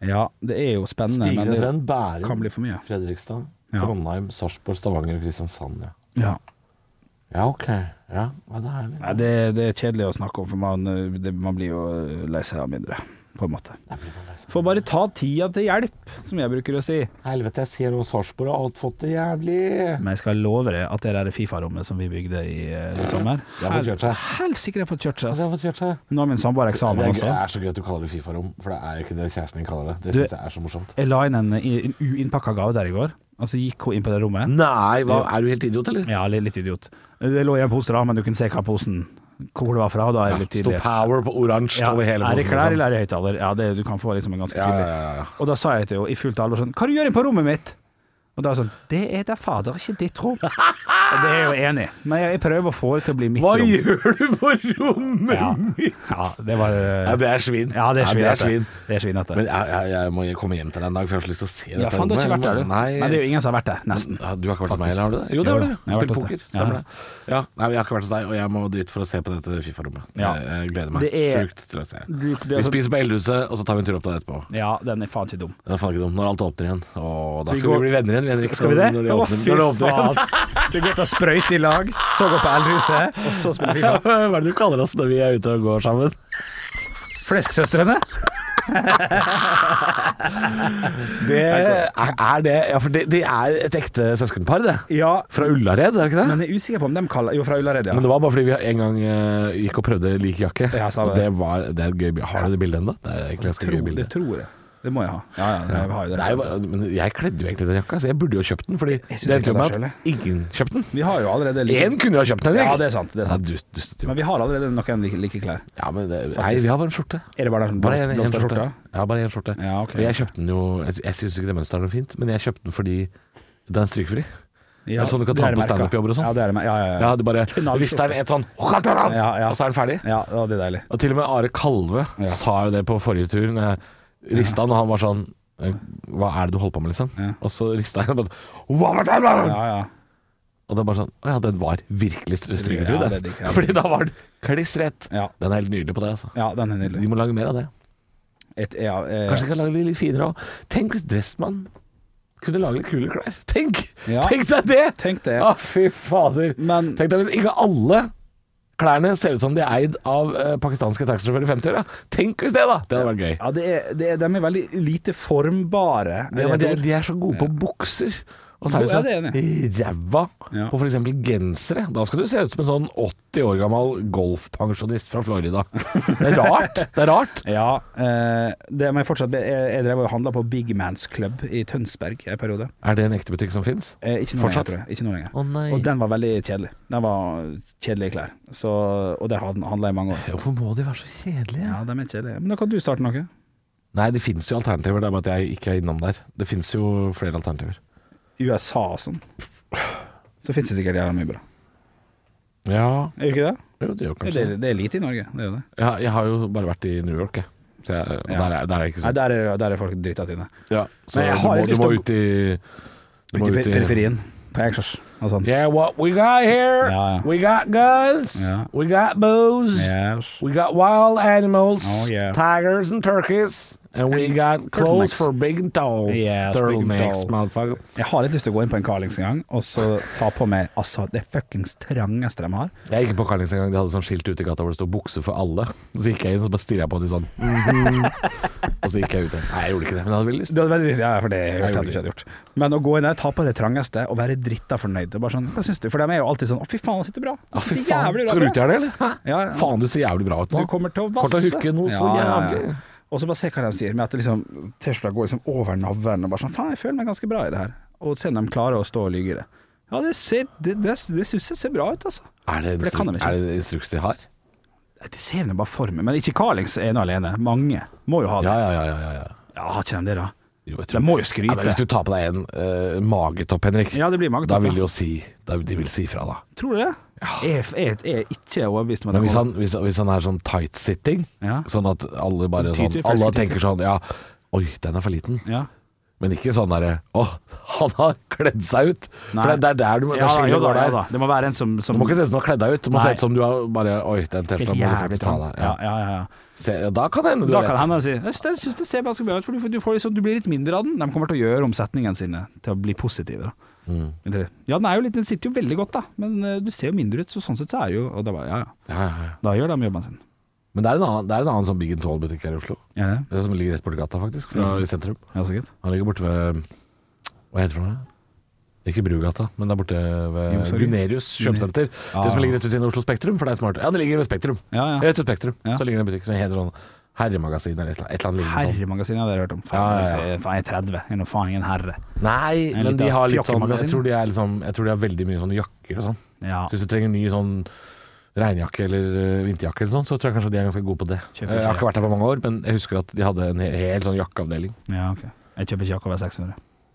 Speaker 4: Ja, det er jo spennende.
Speaker 3: Stigende
Speaker 4: men
Speaker 3: trend.
Speaker 4: det kan bli
Speaker 3: Bærum,
Speaker 4: for mye.
Speaker 3: Fredrikstad,
Speaker 4: Ja.
Speaker 3: Trondheim, Sarpsborg, Stavanger og Kristiansand. Ja,
Speaker 4: Ja.
Speaker 3: ja ok. Ja, ja, det er herlig.
Speaker 4: Nei, det, det er kjedelig å snakke om, for man, eh, det, man blir jo lei seg av mindre, på en måte. Får bare ta tida til hjelp, som jeg bruker å si.
Speaker 3: Helvete, jeg ser nå Sarpsborg har alt fått det jævlig.
Speaker 4: Men jeg skal love deg at det der Fifa-rommet som vi bygde i, eh, i sommer
Speaker 3: De har fått kjørt seg.
Speaker 4: Helsike, jeg har fått kjørt
Speaker 3: Ja, de
Speaker 4: seg. ass.
Speaker 3: har fått kjørt seg.
Speaker 4: Nå har min samboer
Speaker 3: Det
Speaker 4: eksamen
Speaker 3: er,
Speaker 4: også.
Speaker 3: det er så gøy at du kaller det Fifa-rom, for det er jo ikke det kjæresten din kaller det. Det
Speaker 4: Du-
Speaker 3: syns jeg er så morsomt.
Speaker 4: Jeg la inn en, en uinnpakka gave der i går, og så gikk hun inn på det rommet.
Speaker 3: Nei, er du helt idiot, eller?
Speaker 4: Ja, litt, litt idiot. Det lå i en pose, da, men du kunne se hva posen hvor det var fra. og Da er det litt
Speaker 3: Sto
Speaker 4: tydelig.
Speaker 3: power på oransje
Speaker 4: Ja,
Speaker 3: over hele
Speaker 4: er det
Speaker 3: bordet,
Speaker 4: klær
Speaker 3: liksom.
Speaker 4: eller er det høyttaler? Ja, det, du kan få liksom en ganske
Speaker 3: Ja,
Speaker 4: tydelig.
Speaker 3: ja, ja, ja.
Speaker 4: Og da sa jeg til henne i fullt alvor sånn Hva du gjør du på rommet mitt? Og da er det sånn Det er da fader ikke ditt rom. Og det er jeg jo enig i, men jeg, jeg prøver å få det til å bli mitt
Speaker 3: Hva
Speaker 4: rom.
Speaker 3: gjør du på rommet
Speaker 4: Ja.
Speaker 3: mitt?
Speaker 4: Ja, det var eh,
Speaker 3: Ja, det er svin.
Speaker 4: Ja, det
Speaker 3: Ja, det
Speaker 4: er
Speaker 3: er
Speaker 4: svinete.
Speaker 3: svin.
Speaker 4: Det er svinete.
Speaker 3: Men jeg, jeg, jeg må komme hjem til deg en dag, for jeg har så lyst til å se
Speaker 4: Ja,
Speaker 3: dette
Speaker 4: faen, du har ikke vært
Speaker 3: rommet.
Speaker 4: der, du.
Speaker 3: Nei,
Speaker 4: Nei, det er jo ingen som har vært der. Nesten.
Speaker 3: Ja, du har ikke vært hos meg,
Speaker 4: Faktisk.
Speaker 3: eller har du det? Jo, det har
Speaker 4: Jo,
Speaker 3: du.
Speaker 4: jeg har vært
Speaker 3: Spilt
Speaker 4: hos deg.
Speaker 3: poker, stemmer det. Ja, nei, men jeg har ikke vært hos deg, og jeg må dit for å se på dette Fifa-rommet.
Speaker 4: Ja.
Speaker 3: Jeg, jeg gleder meg
Speaker 4: Det er-
Speaker 3: sjukt til å se.
Speaker 4: Du- det er altså-
Speaker 3: Vi
Speaker 4: så-
Speaker 3: spiser på Eldhuset, og så tar vi en tur opp til deg etterpå.
Speaker 4: Ja, den er faen ikke dum.
Speaker 3: Det er faen ikke dumt. Når alt åpner igjen. Å, da skal
Speaker 4: vi
Speaker 3: vi
Speaker 4: går-
Speaker 3: bli venner igjen. vi, Henrik.
Speaker 4: Skal vi det?
Speaker 3: sånn Når de
Speaker 4: Å,
Speaker 3: åpner,
Speaker 4: fy
Speaker 3: når de åpner igjen.
Speaker 4: faen. Så vi går ta sprøyt i lag, så gå på eldhuset, og så spille Fifa.
Speaker 3: Hva er det du kaller oss når vi er ute og går sammen?
Speaker 4: Flesksøstrene?
Speaker 3: Det er, er det Ja, for det, det er et ekte søskenpar, det.
Speaker 4: Ja,
Speaker 3: Fra Ullared, er det ikke det?
Speaker 4: men jeg er usikker på om de kaller Jo, fra Ullared, ja.
Speaker 3: Men det var bare fordi vi en gang eh, gikk og prøvde lik jakke.
Speaker 4: Ja, sa
Speaker 3: og
Speaker 4: det.
Speaker 3: det, var, det er et gøy bilde. Har du det bildet ennå? Det er egentlig ganske
Speaker 4: Tror-
Speaker 3: gøy bilde.
Speaker 4: det tror jeg. Det må jeg ha. Ja, ja, jeg har jo det.
Speaker 3: Det er jo bare- men jeg kledde jo egentlig den jakka, så jeg burde jo ha kjøpt den. Fordi det
Speaker 4: synes ikke
Speaker 3: endte jo med
Speaker 4: det
Speaker 3: at ingen kjøpte den.
Speaker 4: Vi har jo allerede like-
Speaker 3: Én kunne jo ha kjøpt den, Henrik.
Speaker 4: Ja, det er sant. Det er sant.
Speaker 3: Nei, du dustet jo.
Speaker 4: Men vi har allerede noen like, like klær.
Speaker 3: Ja, men det, nei, vi har bare en skjorte.
Speaker 4: Er det bare den
Speaker 3: Bare en, en
Speaker 4: blomsterskjorta?
Speaker 3: skjorte. Ja, bare en skjorte.
Speaker 4: Ja, ok.
Speaker 3: Og jeg kjøpte den jo Jeg, jeg syns ikke det mønsteret er noe fint, men jeg kjøpte den fordi den er strykefri.
Speaker 4: Ja,
Speaker 3: Er det sånn du kan ta på
Speaker 4: det merket.
Speaker 3: standup-jobber og sånn?
Speaker 4: Ja, det er det. mer- Ja, ja, ja.
Speaker 3: Ja, det bare
Speaker 4: Knallskjorte.
Speaker 3: Hvis det er et sånn
Speaker 4: Ja, ja.
Speaker 3: Og så er den ferdig.
Speaker 4: Ja, ja, det er deilig.
Speaker 3: Og til og med Are Kalve sa jo det på forrige tur. Når jeg rista han, og han var sånn eh, Hva er det du holder på med, liksom? Og så rista jeg og bare Hva var det? der?
Speaker 4: Ja, ja.
Speaker 3: Og det er bare sånn Å ja, den var virkelig stry- strykefri,
Speaker 4: Ja,
Speaker 3: den.
Speaker 4: det er digg, ja.
Speaker 3: Fordi da var den kliss rett.
Speaker 4: Ja.
Speaker 3: Den er helt nydelig på det, altså.
Speaker 4: ja, den er
Speaker 3: De
Speaker 4: nydelig.
Speaker 3: må lage mer av det.
Speaker 4: Et, ja, eh,
Speaker 3: Kanskje de kan lage de litt finere òg. Tenk hvis Dressmann kunne lage litt kule klær. Tenk!
Speaker 4: Ja.
Speaker 3: Tenk deg det!
Speaker 4: Tenk det.
Speaker 3: Å, fy Ah, fader.
Speaker 4: Men-
Speaker 3: Tenk deg hvis ikke alle klærne ser ut som de er eid av eh, pakistanske taxisjåfører i 50-åra. Tenk hvis det, da! Det hadde vært gøy.
Speaker 4: Ja, det er, det er, de er veldig lite
Speaker 3: Ja,
Speaker 4: formbare.
Speaker 3: men
Speaker 4: Jeg
Speaker 3: de,
Speaker 4: tror-
Speaker 3: de er så gode på bukser. Og så er
Speaker 4: Ja,
Speaker 3: de så
Speaker 4: det er
Speaker 3: ræva
Speaker 4: Ja.
Speaker 3: på f.eks. gensere. Da skal du se ut som en sånn 80 år gammel golfpensjonist fra Florida. Det er rart. Det er rart.
Speaker 4: Ja, eh, det må jeg fortsatt be- Jeg, jeg drev og handla på Big Man's Club i Tønsberg en periode.
Speaker 3: Er det en ekte butikk som fins?
Speaker 4: Eh, ikke nå lenger,
Speaker 3: Fortsatt?
Speaker 4: tror jeg. Ikke nå lenger.
Speaker 3: Å, nei.
Speaker 4: og den var veldig kjedelig. Den var kjedelige klær. Så, og der handla jeg i mange år.
Speaker 3: Hvorfor må de være så kjedelige?
Speaker 4: Ja, de er kjedelige. Men da kan du starte noe.
Speaker 3: Nei, det fins jo alternativer. Det er bare at jeg ikke er innom der. Det fins jo flere alternativer.
Speaker 4: USA og sånn. Så fins det sikkert jævla mye bra.
Speaker 3: Ja,
Speaker 4: Er det ikke det?
Speaker 3: jo, det gjør
Speaker 4: Det
Speaker 3: kanskje
Speaker 4: er,
Speaker 3: det.
Speaker 4: det er lite i Norge, det er jo det.
Speaker 3: Ja, jeg har jo bare vært i New York, jeg. Så jeg, og
Speaker 4: Ja.
Speaker 3: der, er, der er det ikke
Speaker 4: Nei,
Speaker 3: sånn.
Speaker 4: der er, der er folk drita til det.
Speaker 3: Så
Speaker 4: Men jeg
Speaker 3: du
Speaker 4: har
Speaker 3: må,
Speaker 4: lyst
Speaker 3: du må
Speaker 4: til å-
Speaker 3: ut i du
Speaker 4: Ute
Speaker 3: må
Speaker 4: i
Speaker 3: ut
Speaker 4: per- periferien. På Exors og sånn.
Speaker 3: Yeah, what we got here?
Speaker 4: Ja, ja.
Speaker 3: We got guns.
Speaker 4: Ja.
Speaker 3: We got booze.
Speaker 4: Yes.
Speaker 3: We got wild animals.
Speaker 4: Oh, yeah.
Speaker 3: Tigers and turkeys. And we got clothes
Speaker 4: turtlenecks.
Speaker 3: for big and tall.
Speaker 4: Yes, big and
Speaker 3: turtlenecks,
Speaker 4: tall.
Speaker 3: motherfucker.
Speaker 4: Jeg har litt lyst til å gå inn på en Carlings en gang, og så ta på meg altså, det fuckings trangeste de har.
Speaker 3: Jeg gikk på Carlings en gang. De hadde sånn skilt ute i gata hvor det stod 'bukse for alle'. Så gikk jeg inn og så bare stirra på dem sånn. mhm. og så gikk jeg ut igjen. Nei, jeg gjorde ikke det, men jeg hadde veldig lyst.
Speaker 4: Det hadde vært lyst- ja, for det
Speaker 3: Jeg
Speaker 4: hørte jeg at du
Speaker 3: gjorde
Speaker 4: ikke hadde gjort. Men å gå inn der, ta på det trangeste og være dritta fornøyd. Og bare sånn, hva syns du? For de er jo alltid sånn 'Å, fy faen, det sitter bra'.
Speaker 3: Ja, fy
Speaker 4: Det sitter
Speaker 3: faen.
Speaker 4: jævlig bra
Speaker 3: Skal du
Speaker 4: bra.
Speaker 3: ut i helga, eller? Hæ?
Speaker 4: Ja, ja.
Speaker 3: Faen, du ser jævlig bra ut nå.
Speaker 4: Du kommer til å vasse.
Speaker 3: Kommer til å hooke noe så
Speaker 4: Ja, ja, ja.
Speaker 3: jævlig.
Speaker 4: Og så bare se hva de sier, med at det liksom, T-skjorta går liksom over navlen og bare sånn Faen, jeg føler meg ganske bra i det her. Og se om de klarer å stå og lyge i det. Ja, det, ser- det, det, det syns jeg ser bra ut, altså.
Speaker 3: Er det,
Speaker 4: For det kan de
Speaker 3: instru-
Speaker 4: ikke.
Speaker 3: er det instruks de har?
Speaker 4: Det ser jeg nå bare for meg. Men ikke Carlings ene alene. Mange må jo ha det.
Speaker 3: Ja, ja, ja. ja, ja, ja.
Speaker 4: Ja, har ikke de det, da?
Speaker 3: Jo, jeg
Speaker 4: De
Speaker 3: tror-
Speaker 4: må
Speaker 3: Ja,
Speaker 4: jo
Speaker 3: men
Speaker 4: skryte.
Speaker 3: hvis du tar på deg en eh, magetopp, Henrik,
Speaker 4: Ja, det blir magetopp,
Speaker 3: da vil
Speaker 4: ja.
Speaker 3: de jo si da, De vil si ifra, da.
Speaker 4: Tror du det? Jeg, jeg, jeg er ikke overbevist om
Speaker 3: Men
Speaker 4: at det
Speaker 3: hvis
Speaker 4: kommer.
Speaker 3: han, hvis, hvis han er sånn tight-sitting,
Speaker 4: Ja.
Speaker 3: sånn at alle bare
Speaker 4: Tyter,
Speaker 3: sånn
Speaker 4: flesker,
Speaker 3: Alle
Speaker 4: tyter.
Speaker 3: tenker sånn Ja, oi, den er for liten.
Speaker 4: Ja.
Speaker 3: Men ikke sånn derre Å, han har kledd seg ut! For
Speaker 4: Nei.
Speaker 3: det er der du må
Speaker 4: Ja, da,
Speaker 3: skille
Speaker 4: jo da,
Speaker 3: går
Speaker 4: ja
Speaker 3: der.
Speaker 4: da. Det må være en som,
Speaker 3: Du
Speaker 4: som
Speaker 3: må ikke se ut som du har kledd deg ut. Du må se
Speaker 4: Nei.
Speaker 3: ut som du har bare Oi, den
Speaker 4: Helt
Speaker 3: T-skjorta må du
Speaker 4: jævlig
Speaker 3: faktisk ta
Speaker 4: trang.
Speaker 3: av deg.
Speaker 4: Ja,
Speaker 3: Ja.
Speaker 4: ja, ja, ja.
Speaker 3: Se, ja, da kan det hende du
Speaker 4: Da
Speaker 3: har
Speaker 4: kan
Speaker 3: rett.
Speaker 4: hende han sier Jeg syns det, jeg synes det ser ganske bra ut, for du, du, får liksom, du blir litt mindre av den. De kommer til å gjøre omsetningene sine til å bli positive. Da. Vet dere? Ja, den, er jo litt, den sitter jo veldig godt, da, men eh, du ser jo mindre ut, så sånn sett så er det jo og da, bare, ja, ja.
Speaker 3: Ja, ja, ja.
Speaker 4: da gjør de jobben sin.
Speaker 3: Men det er en annen, det er en annen sånn Big and Tall-butikk her i Oslo.
Speaker 4: Ja, ja.
Speaker 3: Det er Som ligger rett borti gata, faktisk. Fra i sentrum.
Speaker 4: ja sikkert.
Speaker 3: Han ligger borte ved Hva heter det for noe? Ikke Brugata, men det er borte ved
Speaker 4: Youngstorget?
Speaker 3: Gunerius kjøpesenter. Det som ligger rett ved siden av Oslo Spektrum, for det er smart. Ja, det ligger ved Spektrum.
Speaker 4: Ja, ja.
Speaker 3: Rett ved Spektrum.
Speaker 4: Ja.
Speaker 3: Så ligger det en butikk som heter sånn Herremagasin eller et eller annet- et eller annet lignende sånt.
Speaker 4: Herremagasinet hadde jeg hørt om. Faen,
Speaker 3: sånn. Ja, ja, ja.
Speaker 4: jeg er- faen jeg er 30, jeg er nå faen ingen herre.
Speaker 3: Nei,
Speaker 4: En
Speaker 3: men de
Speaker 4: liten
Speaker 3: har litt sånn
Speaker 4: pjokkemagasin.
Speaker 3: Jeg tror de er liksom Jeg tror de har veldig mye sånne jakker og sånn.
Speaker 4: Ja.
Speaker 3: Så hvis du trenger en ny sånn regnjakke eller eh, vinterjakke eller sånn, så tror jeg kanskje de er ganske gode på det. Eh,
Speaker 4: Kjøper
Speaker 3: jeg har
Speaker 4: seg.
Speaker 3: ikke vært der på mange år, men jeg husker at de hadde en he- hel sånn jakkeavdeling.
Speaker 4: Ja, ok. Jeg kjøper ikke jakka over 600.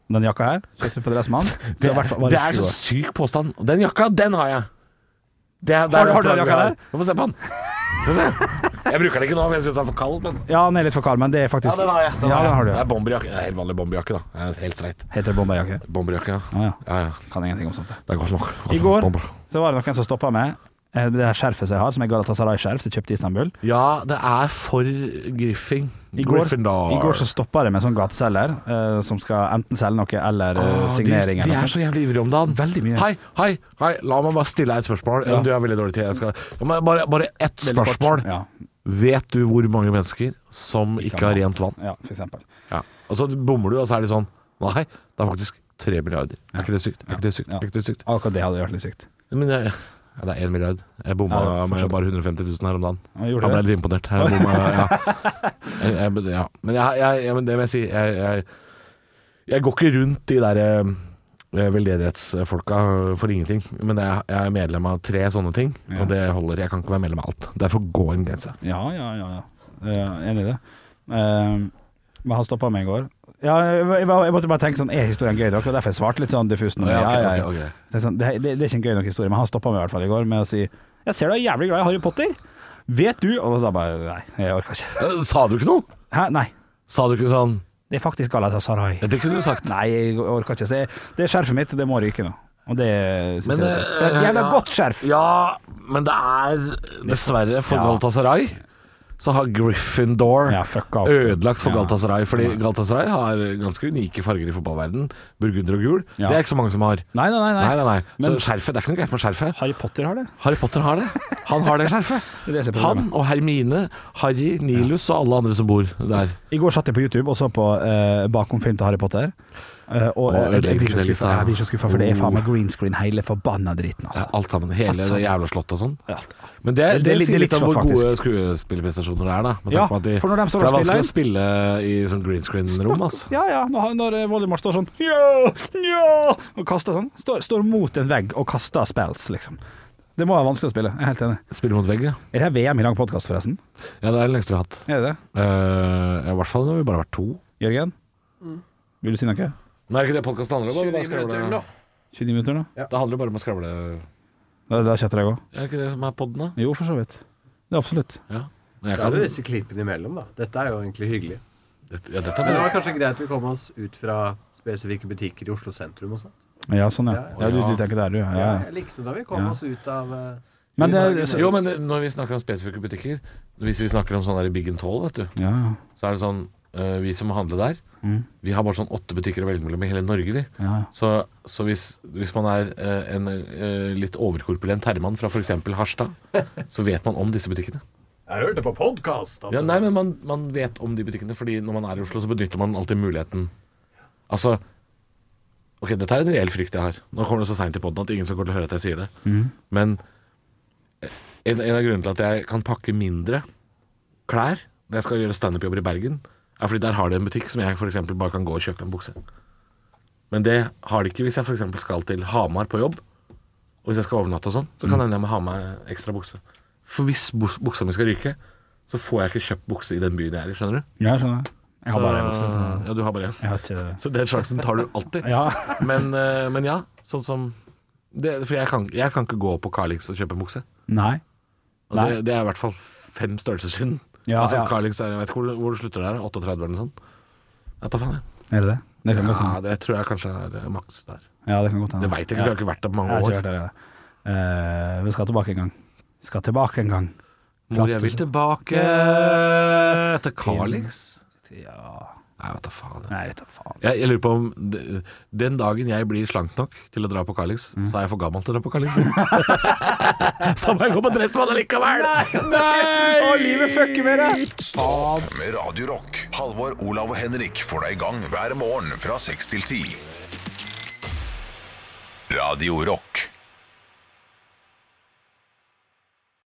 Speaker 4: Den jakka her kjøpte jeg på Dressmann.
Speaker 3: Det,
Speaker 4: så i hvert fall var
Speaker 3: det er så
Speaker 4: sju år.
Speaker 3: syk påstand. Og den jakka, den har jeg. Det er- det er
Speaker 4: Har du- har du den
Speaker 3: plagget
Speaker 4: jakka
Speaker 3: jeg
Speaker 4: der?
Speaker 3: Få se på den. Få se. Jeg bruker den ikke nå, for jeg syns den er for kald. Men
Speaker 4: Ja, den er litt for kald, men det
Speaker 3: ja,
Speaker 4: er faktisk
Speaker 3: den har jeg. Den
Speaker 4: ja,
Speaker 3: har jeg.
Speaker 4: den har du.
Speaker 3: Det er
Speaker 4: Ja.
Speaker 3: bomberjakke. Det er helt vanlig bomberjakke, da. Det er helt streit.
Speaker 4: Heter det bomberjakke?
Speaker 3: Bomberjakke, ja.
Speaker 4: Å ja.
Speaker 3: ja, ja.
Speaker 4: Kan ingenting om sånt. jeg.
Speaker 3: Det er godt nok. Godt
Speaker 4: I
Speaker 3: nok
Speaker 4: går
Speaker 3: bomber.
Speaker 4: så var det noen som stoppa meg. eh, det her skjerfet som jeg har, som er Galatasaray-skjerf, som jeg kjøpte i Istanbul.
Speaker 3: Ja, det er for Griffing.
Speaker 4: I går,
Speaker 3: Gryffindor.
Speaker 4: I går så stoppa det med en sånn gateselger eh, som skal enten selge noe eller eh,
Speaker 3: Ah,
Speaker 4: signering.
Speaker 3: De, de
Speaker 4: eller noe
Speaker 3: er så
Speaker 4: sånt.
Speaker 3: jævlig ivrige om dagen.
Speaker 4: Veldig mye.
Speaker 3: Hei, hei, hei, la meg bare stille deg et spørsmål. Du er veldig dårlig til jeg skal. Ja, men Bare, bare ett
Speaker 4: Veldig kort.
Speaker 3: spørsmål.
Speaker 4: Ja,
Speaker 3: Vet du hvor mange mennesker som ikke har rent vann?
Speaker 4: ja, for eksempel.
Speaker 3: Ja. Og så bommer du, og så er de sånn Nei, det er faktisk tre milliarder. Er ikke det sykt? Er ikke det sykt?
Speaker 4: Ja.
Speaker 3: Er ikke det sykt?
Speaker 4: Akkurat det hadde vært litt sykt.
Speaker 3: Men jeg, ja, det er én milliard. Jeg bomma
Speaker 4: Ja,
Speaker 3: med
Speaker 4: fortsatt.
Speaker 3: bare 150 000 her om dagen.
Speaker 4: Ja, gjorde
Speaker 3: Han ble
Speaker 4: det?
Speaker 3: litt imponert. Jeg bomma, ja. Jeg, jeg, ja. Men jeg, jeg, jeg, men det må jeg si. Jeg, jeg, jeg går ikke rundt de der eh, veldedighetsfolka for ingenting. Men jeg, jeg er medlem av tre sånne ting, og det holder. Jeg kan ikke være medlem av alt. Derfor gå en grense.
Speaker 4: Ja, ja, ja. ja. Eh, enig i det. Eh, men han stoppa meg i går. Ja, jeg, jeg, jeg måtte bare tenke sånn Er historien gøy? Det var akkurat derfor jeg svarte litt sånn diffust. nå.
Speaker 3: Ja, ok,
Speaker 4: Ja, ja, ja.
Speaker 3: ok, ok.
Speaker 4: Det, er sånn, det, det, det er ikke en gøy nok historie, men han stoppa meg i hvert fall i går med å si Jeg ser du er jævlig glad i Harry Potter. Vet du Og da bare Nei, jeg orker ikke.
Speaker 3: Eh, Sa du ikke noe?
Speaker 4: Hæ? Nei.
Speaker 3: Sa du ikke sånn
Speaker 4: Det er faktisk Galatasaray.
Speaker 3: Det kunne du sagt.
Speaker 4: Nei, jeg orker ikke. Så jeg- Det skjerfet mitt, det må ryke nå. Og det syns jeg
Speaker 3: Men,
Speaker 4: er trist. Det er et
Speaker 3: eh,
Speaker 4: jævla
Speaker 3: ja.
Speaker 4: godt skjerf.
Speaker 3: Ja, men det er dessverre for
Speaker 4: Ja.
Speaker 3: Galatasaray så har Gryffindor
Speaker 4: Ja, fucka opp.
Speaker 3: ødelagt for
Speaker 4: Ja.
Speaker 3: Galatasaray. Fordi Galatasaray har ganske unike farger i fotballverden Burgunder og gul.
Speaker 4: Ja.
Speaker 3: Det er ikke så mange som har.
Speaker 4: Nei, nei, nei.
Speaker 3: Nei, nei, nei.
Speaker 4: Men-
Speaker 3: så skjerfet, Det er ikke noe gærent med skjerfet.
Speaker 4: Harry Potter har det.
Speaker 3: Harry Potter har det. Han har det skjerfet.
Speaker 4: Det er det som er problemet.
Speaker 3: Han og Hermine, Harry, Nilus og alle andre som bor der.
Speaker 4: I går satt jeg på YouTube og så på eh, bakom film til Harry Potter. Eh,
Speaker 3: Å,
Speaker 4: og jeg, jeg,
Speaker 3: ødelegger
Speaker 4: blir
Speaker 3: det
Speaker 4: så
Speaker 3: litt,
Speaker 4: skuffa,
Speaker 3: da.
Speaker 4: jeg blir så skuffa, for det er faen meg
Speaker 3: Oh.
Speaker 4: green screen hele forbanna driten, altså.
Speaker 3: Alt sammen. Hele det jævla slottet og sånn.
Speaker 4: Alt.
Speaker 3: Men det, det,
Speaker 4: Det er litt-
Speaker 3: sier litt
Speaker 4: det er
Speaker 3: om
Speaker 4: litt
Speaker 3: hvor
Speaker 4: slått,
Speaker 3: gode skuespillerprestasjoner det er, da. Med tanke
Speaker 4: Ja,
Speaker 3: på at
Speaker 4: for når de står
Speaker 3: for det er
Speaker 4: og
Speaker 3: vanskelig å spille i sånn green screen-rom, altså.
Speaker 4: Ja, ja. Når, når Voldemort står sånn ja, ja, og kaster sånn. Står, står mot en vegg og kaster spells, liksom. Det må være vanskelig å spille. Jeg er helt enig.
Speaker 3: Spille mot vegg, ja.
Speaker 4: Er det her VM i lang podkast, forresten?
Speaker 3: Ja, det er det lengste vi har hatt.
Speaker 4: Er det det?
Speaker 3: Eh, I hvert fall når vi bare har vært to.
Speaker 4: Jørgen? Vil du si noe?
Speaker 3: Men er det ikke det podkasten handler om? da? Det bare skravle.
Speaker 4: 29 minutter nå?
Speaker 3: Det handler jo bare om å skravle.
Speaker 4: Da, da chatter jeg òg.
Speaker 3: Er det ikke det som er podden, da?
Speaker 4: Jo, for så vidt. Det er absolutt.
Speaker 3: Ja. Men jeg
Speaker 7: Da er
Speaker 3: kan,
Speaker 7: det disse klippene imellom, da. Dette er jo egentlig hyggelig.
Speaker 3: dette, ja, dette
Speaker 7: Men
Speaker 3: er
Speaker 7: det
Speaker 3: bra.
Speaker 7: var kanskje greit vi kom oss ut fra spesifikke butikker i Oslo sentrum og sånn.
Speaker 4: Ja, sånn ja.
Speaker 7: Ja,
Speaker 4: ja du, du tenker der, du. Ja. ja.
Speaker 7: Jeg likte da vi kom
Speaker 4: Ja.
Speaker 7: oss ut av eh,
Speaker 4: Men det er
Speaker 3: Jo, men når vi snakker om spesifikke butikker Hvis vi snakker om sånn der Big and Tall, vet du
Speaker 4: ja, ja.
Speaker 3: Så er det sånn eh, Vi som handler der, vi har bare sånn åtte butikker å velge mellom i hele Norge, vi.
Speaker 4: Ja.
Speaker 3: Så, så hvis, hvis man er eh, en eh, litt overkorpulent herremann fra f.eks. Harstad, så vet man om disse butikkene.
Speaker 7: Jeg hørte på podkast!
Speaker 3: Ja, nei, men man, man vet om de butikkene, fordi når man er i Oslo, så benytter man alltid muligheten. Altså Ok, dette er en reell frykt jeg har. Nå kommer det så seint i poden at ingen skal gå til å høre at jeg sier det. Men eh, en, en av grunnene til at jeg kan pakke mindre klær når jeg skal gjøre standup-jobber i Bergen, er fordi der har de en butikk som jeg f.eks. bare kan gå og kjøpe en bukse. Men det har de ikke hvis jeg f.eks. skal til Hamar på jobb, og hvis jeg skal overnatte og sånn, så kan det hende jeg må ha med ekstra bukse. For hvis bus- buksa mi skal ryke, så får jeg ikke kjøpt bukse i den byen jeg er i, skjønner du?
Speaker 4: Ja, jeg skjønner. Jeg har bare en bukse.
Speaker 3: Så-
Speaker 4: så-
Speaker 3: Ja, du har bare én.
Speaker 4: Jeg har ikke
Speaker 3: Så den sjansen tar du alltid.
Speaker 4: Ja.
Speaker 3: Men, eh, men ja, sånn som det, For jeg kan, jeg kan ikke gå på Carlings og kjøpe en bukse.
Speaker 4: Nei.
Speaker 3: Og
Speaker 4: Nei.
Speaker 3: det, det er i hvert fall fem størrelser siden.
Speaker 4: Ja,
Speaker 3: altså,
Speaker 4: ja.
Speaker 3: Carlings, er- jeg vet ikke hvor, hvor det slutter der, 38 eller noe sånt. Jeg tar faen, jeg.
Speaker 4: Er det det? Det kan godt
Speaker 3: Ja,
Speaker 4: hende.
Speaker 3: det tror jeg kanskje er eh, maks der.
Speaker 4: Ja, det kan godt hende.
Speaker 3: Det veit jeg ikke, for jeg har ikke vært der på
Speaker 4: Jeg
Speaker 3: mange
Speaker 4: har ikke
Speaker 3: år.
Speaker 4: vært der, jeg. Eh, vi skal tilbake en gang. Skal tilbake en gang.
Speaker 3: Mor, jeg vil tilbake til Carlings.
Speaker 4: Ja
Speaker 3: Nei, vet da faen. jeg.
Speaker 4: Nei, vet da faen.
Speaker 3: Jeg, jeg lurer på om d- den dagen jeg blir slank nok til å dra på Carlings, så er jeg for gammel til å dra på Carlings. så må jeg gå på Dressmann allikevel! Nei!
Speaker 4: Å, livet fucker med deg!
Speaker 1: Stå opp med Radio Rock. Halvor, Olav og Henrik får deg i gang hver morgen fra 6 til 10. Radio Rock.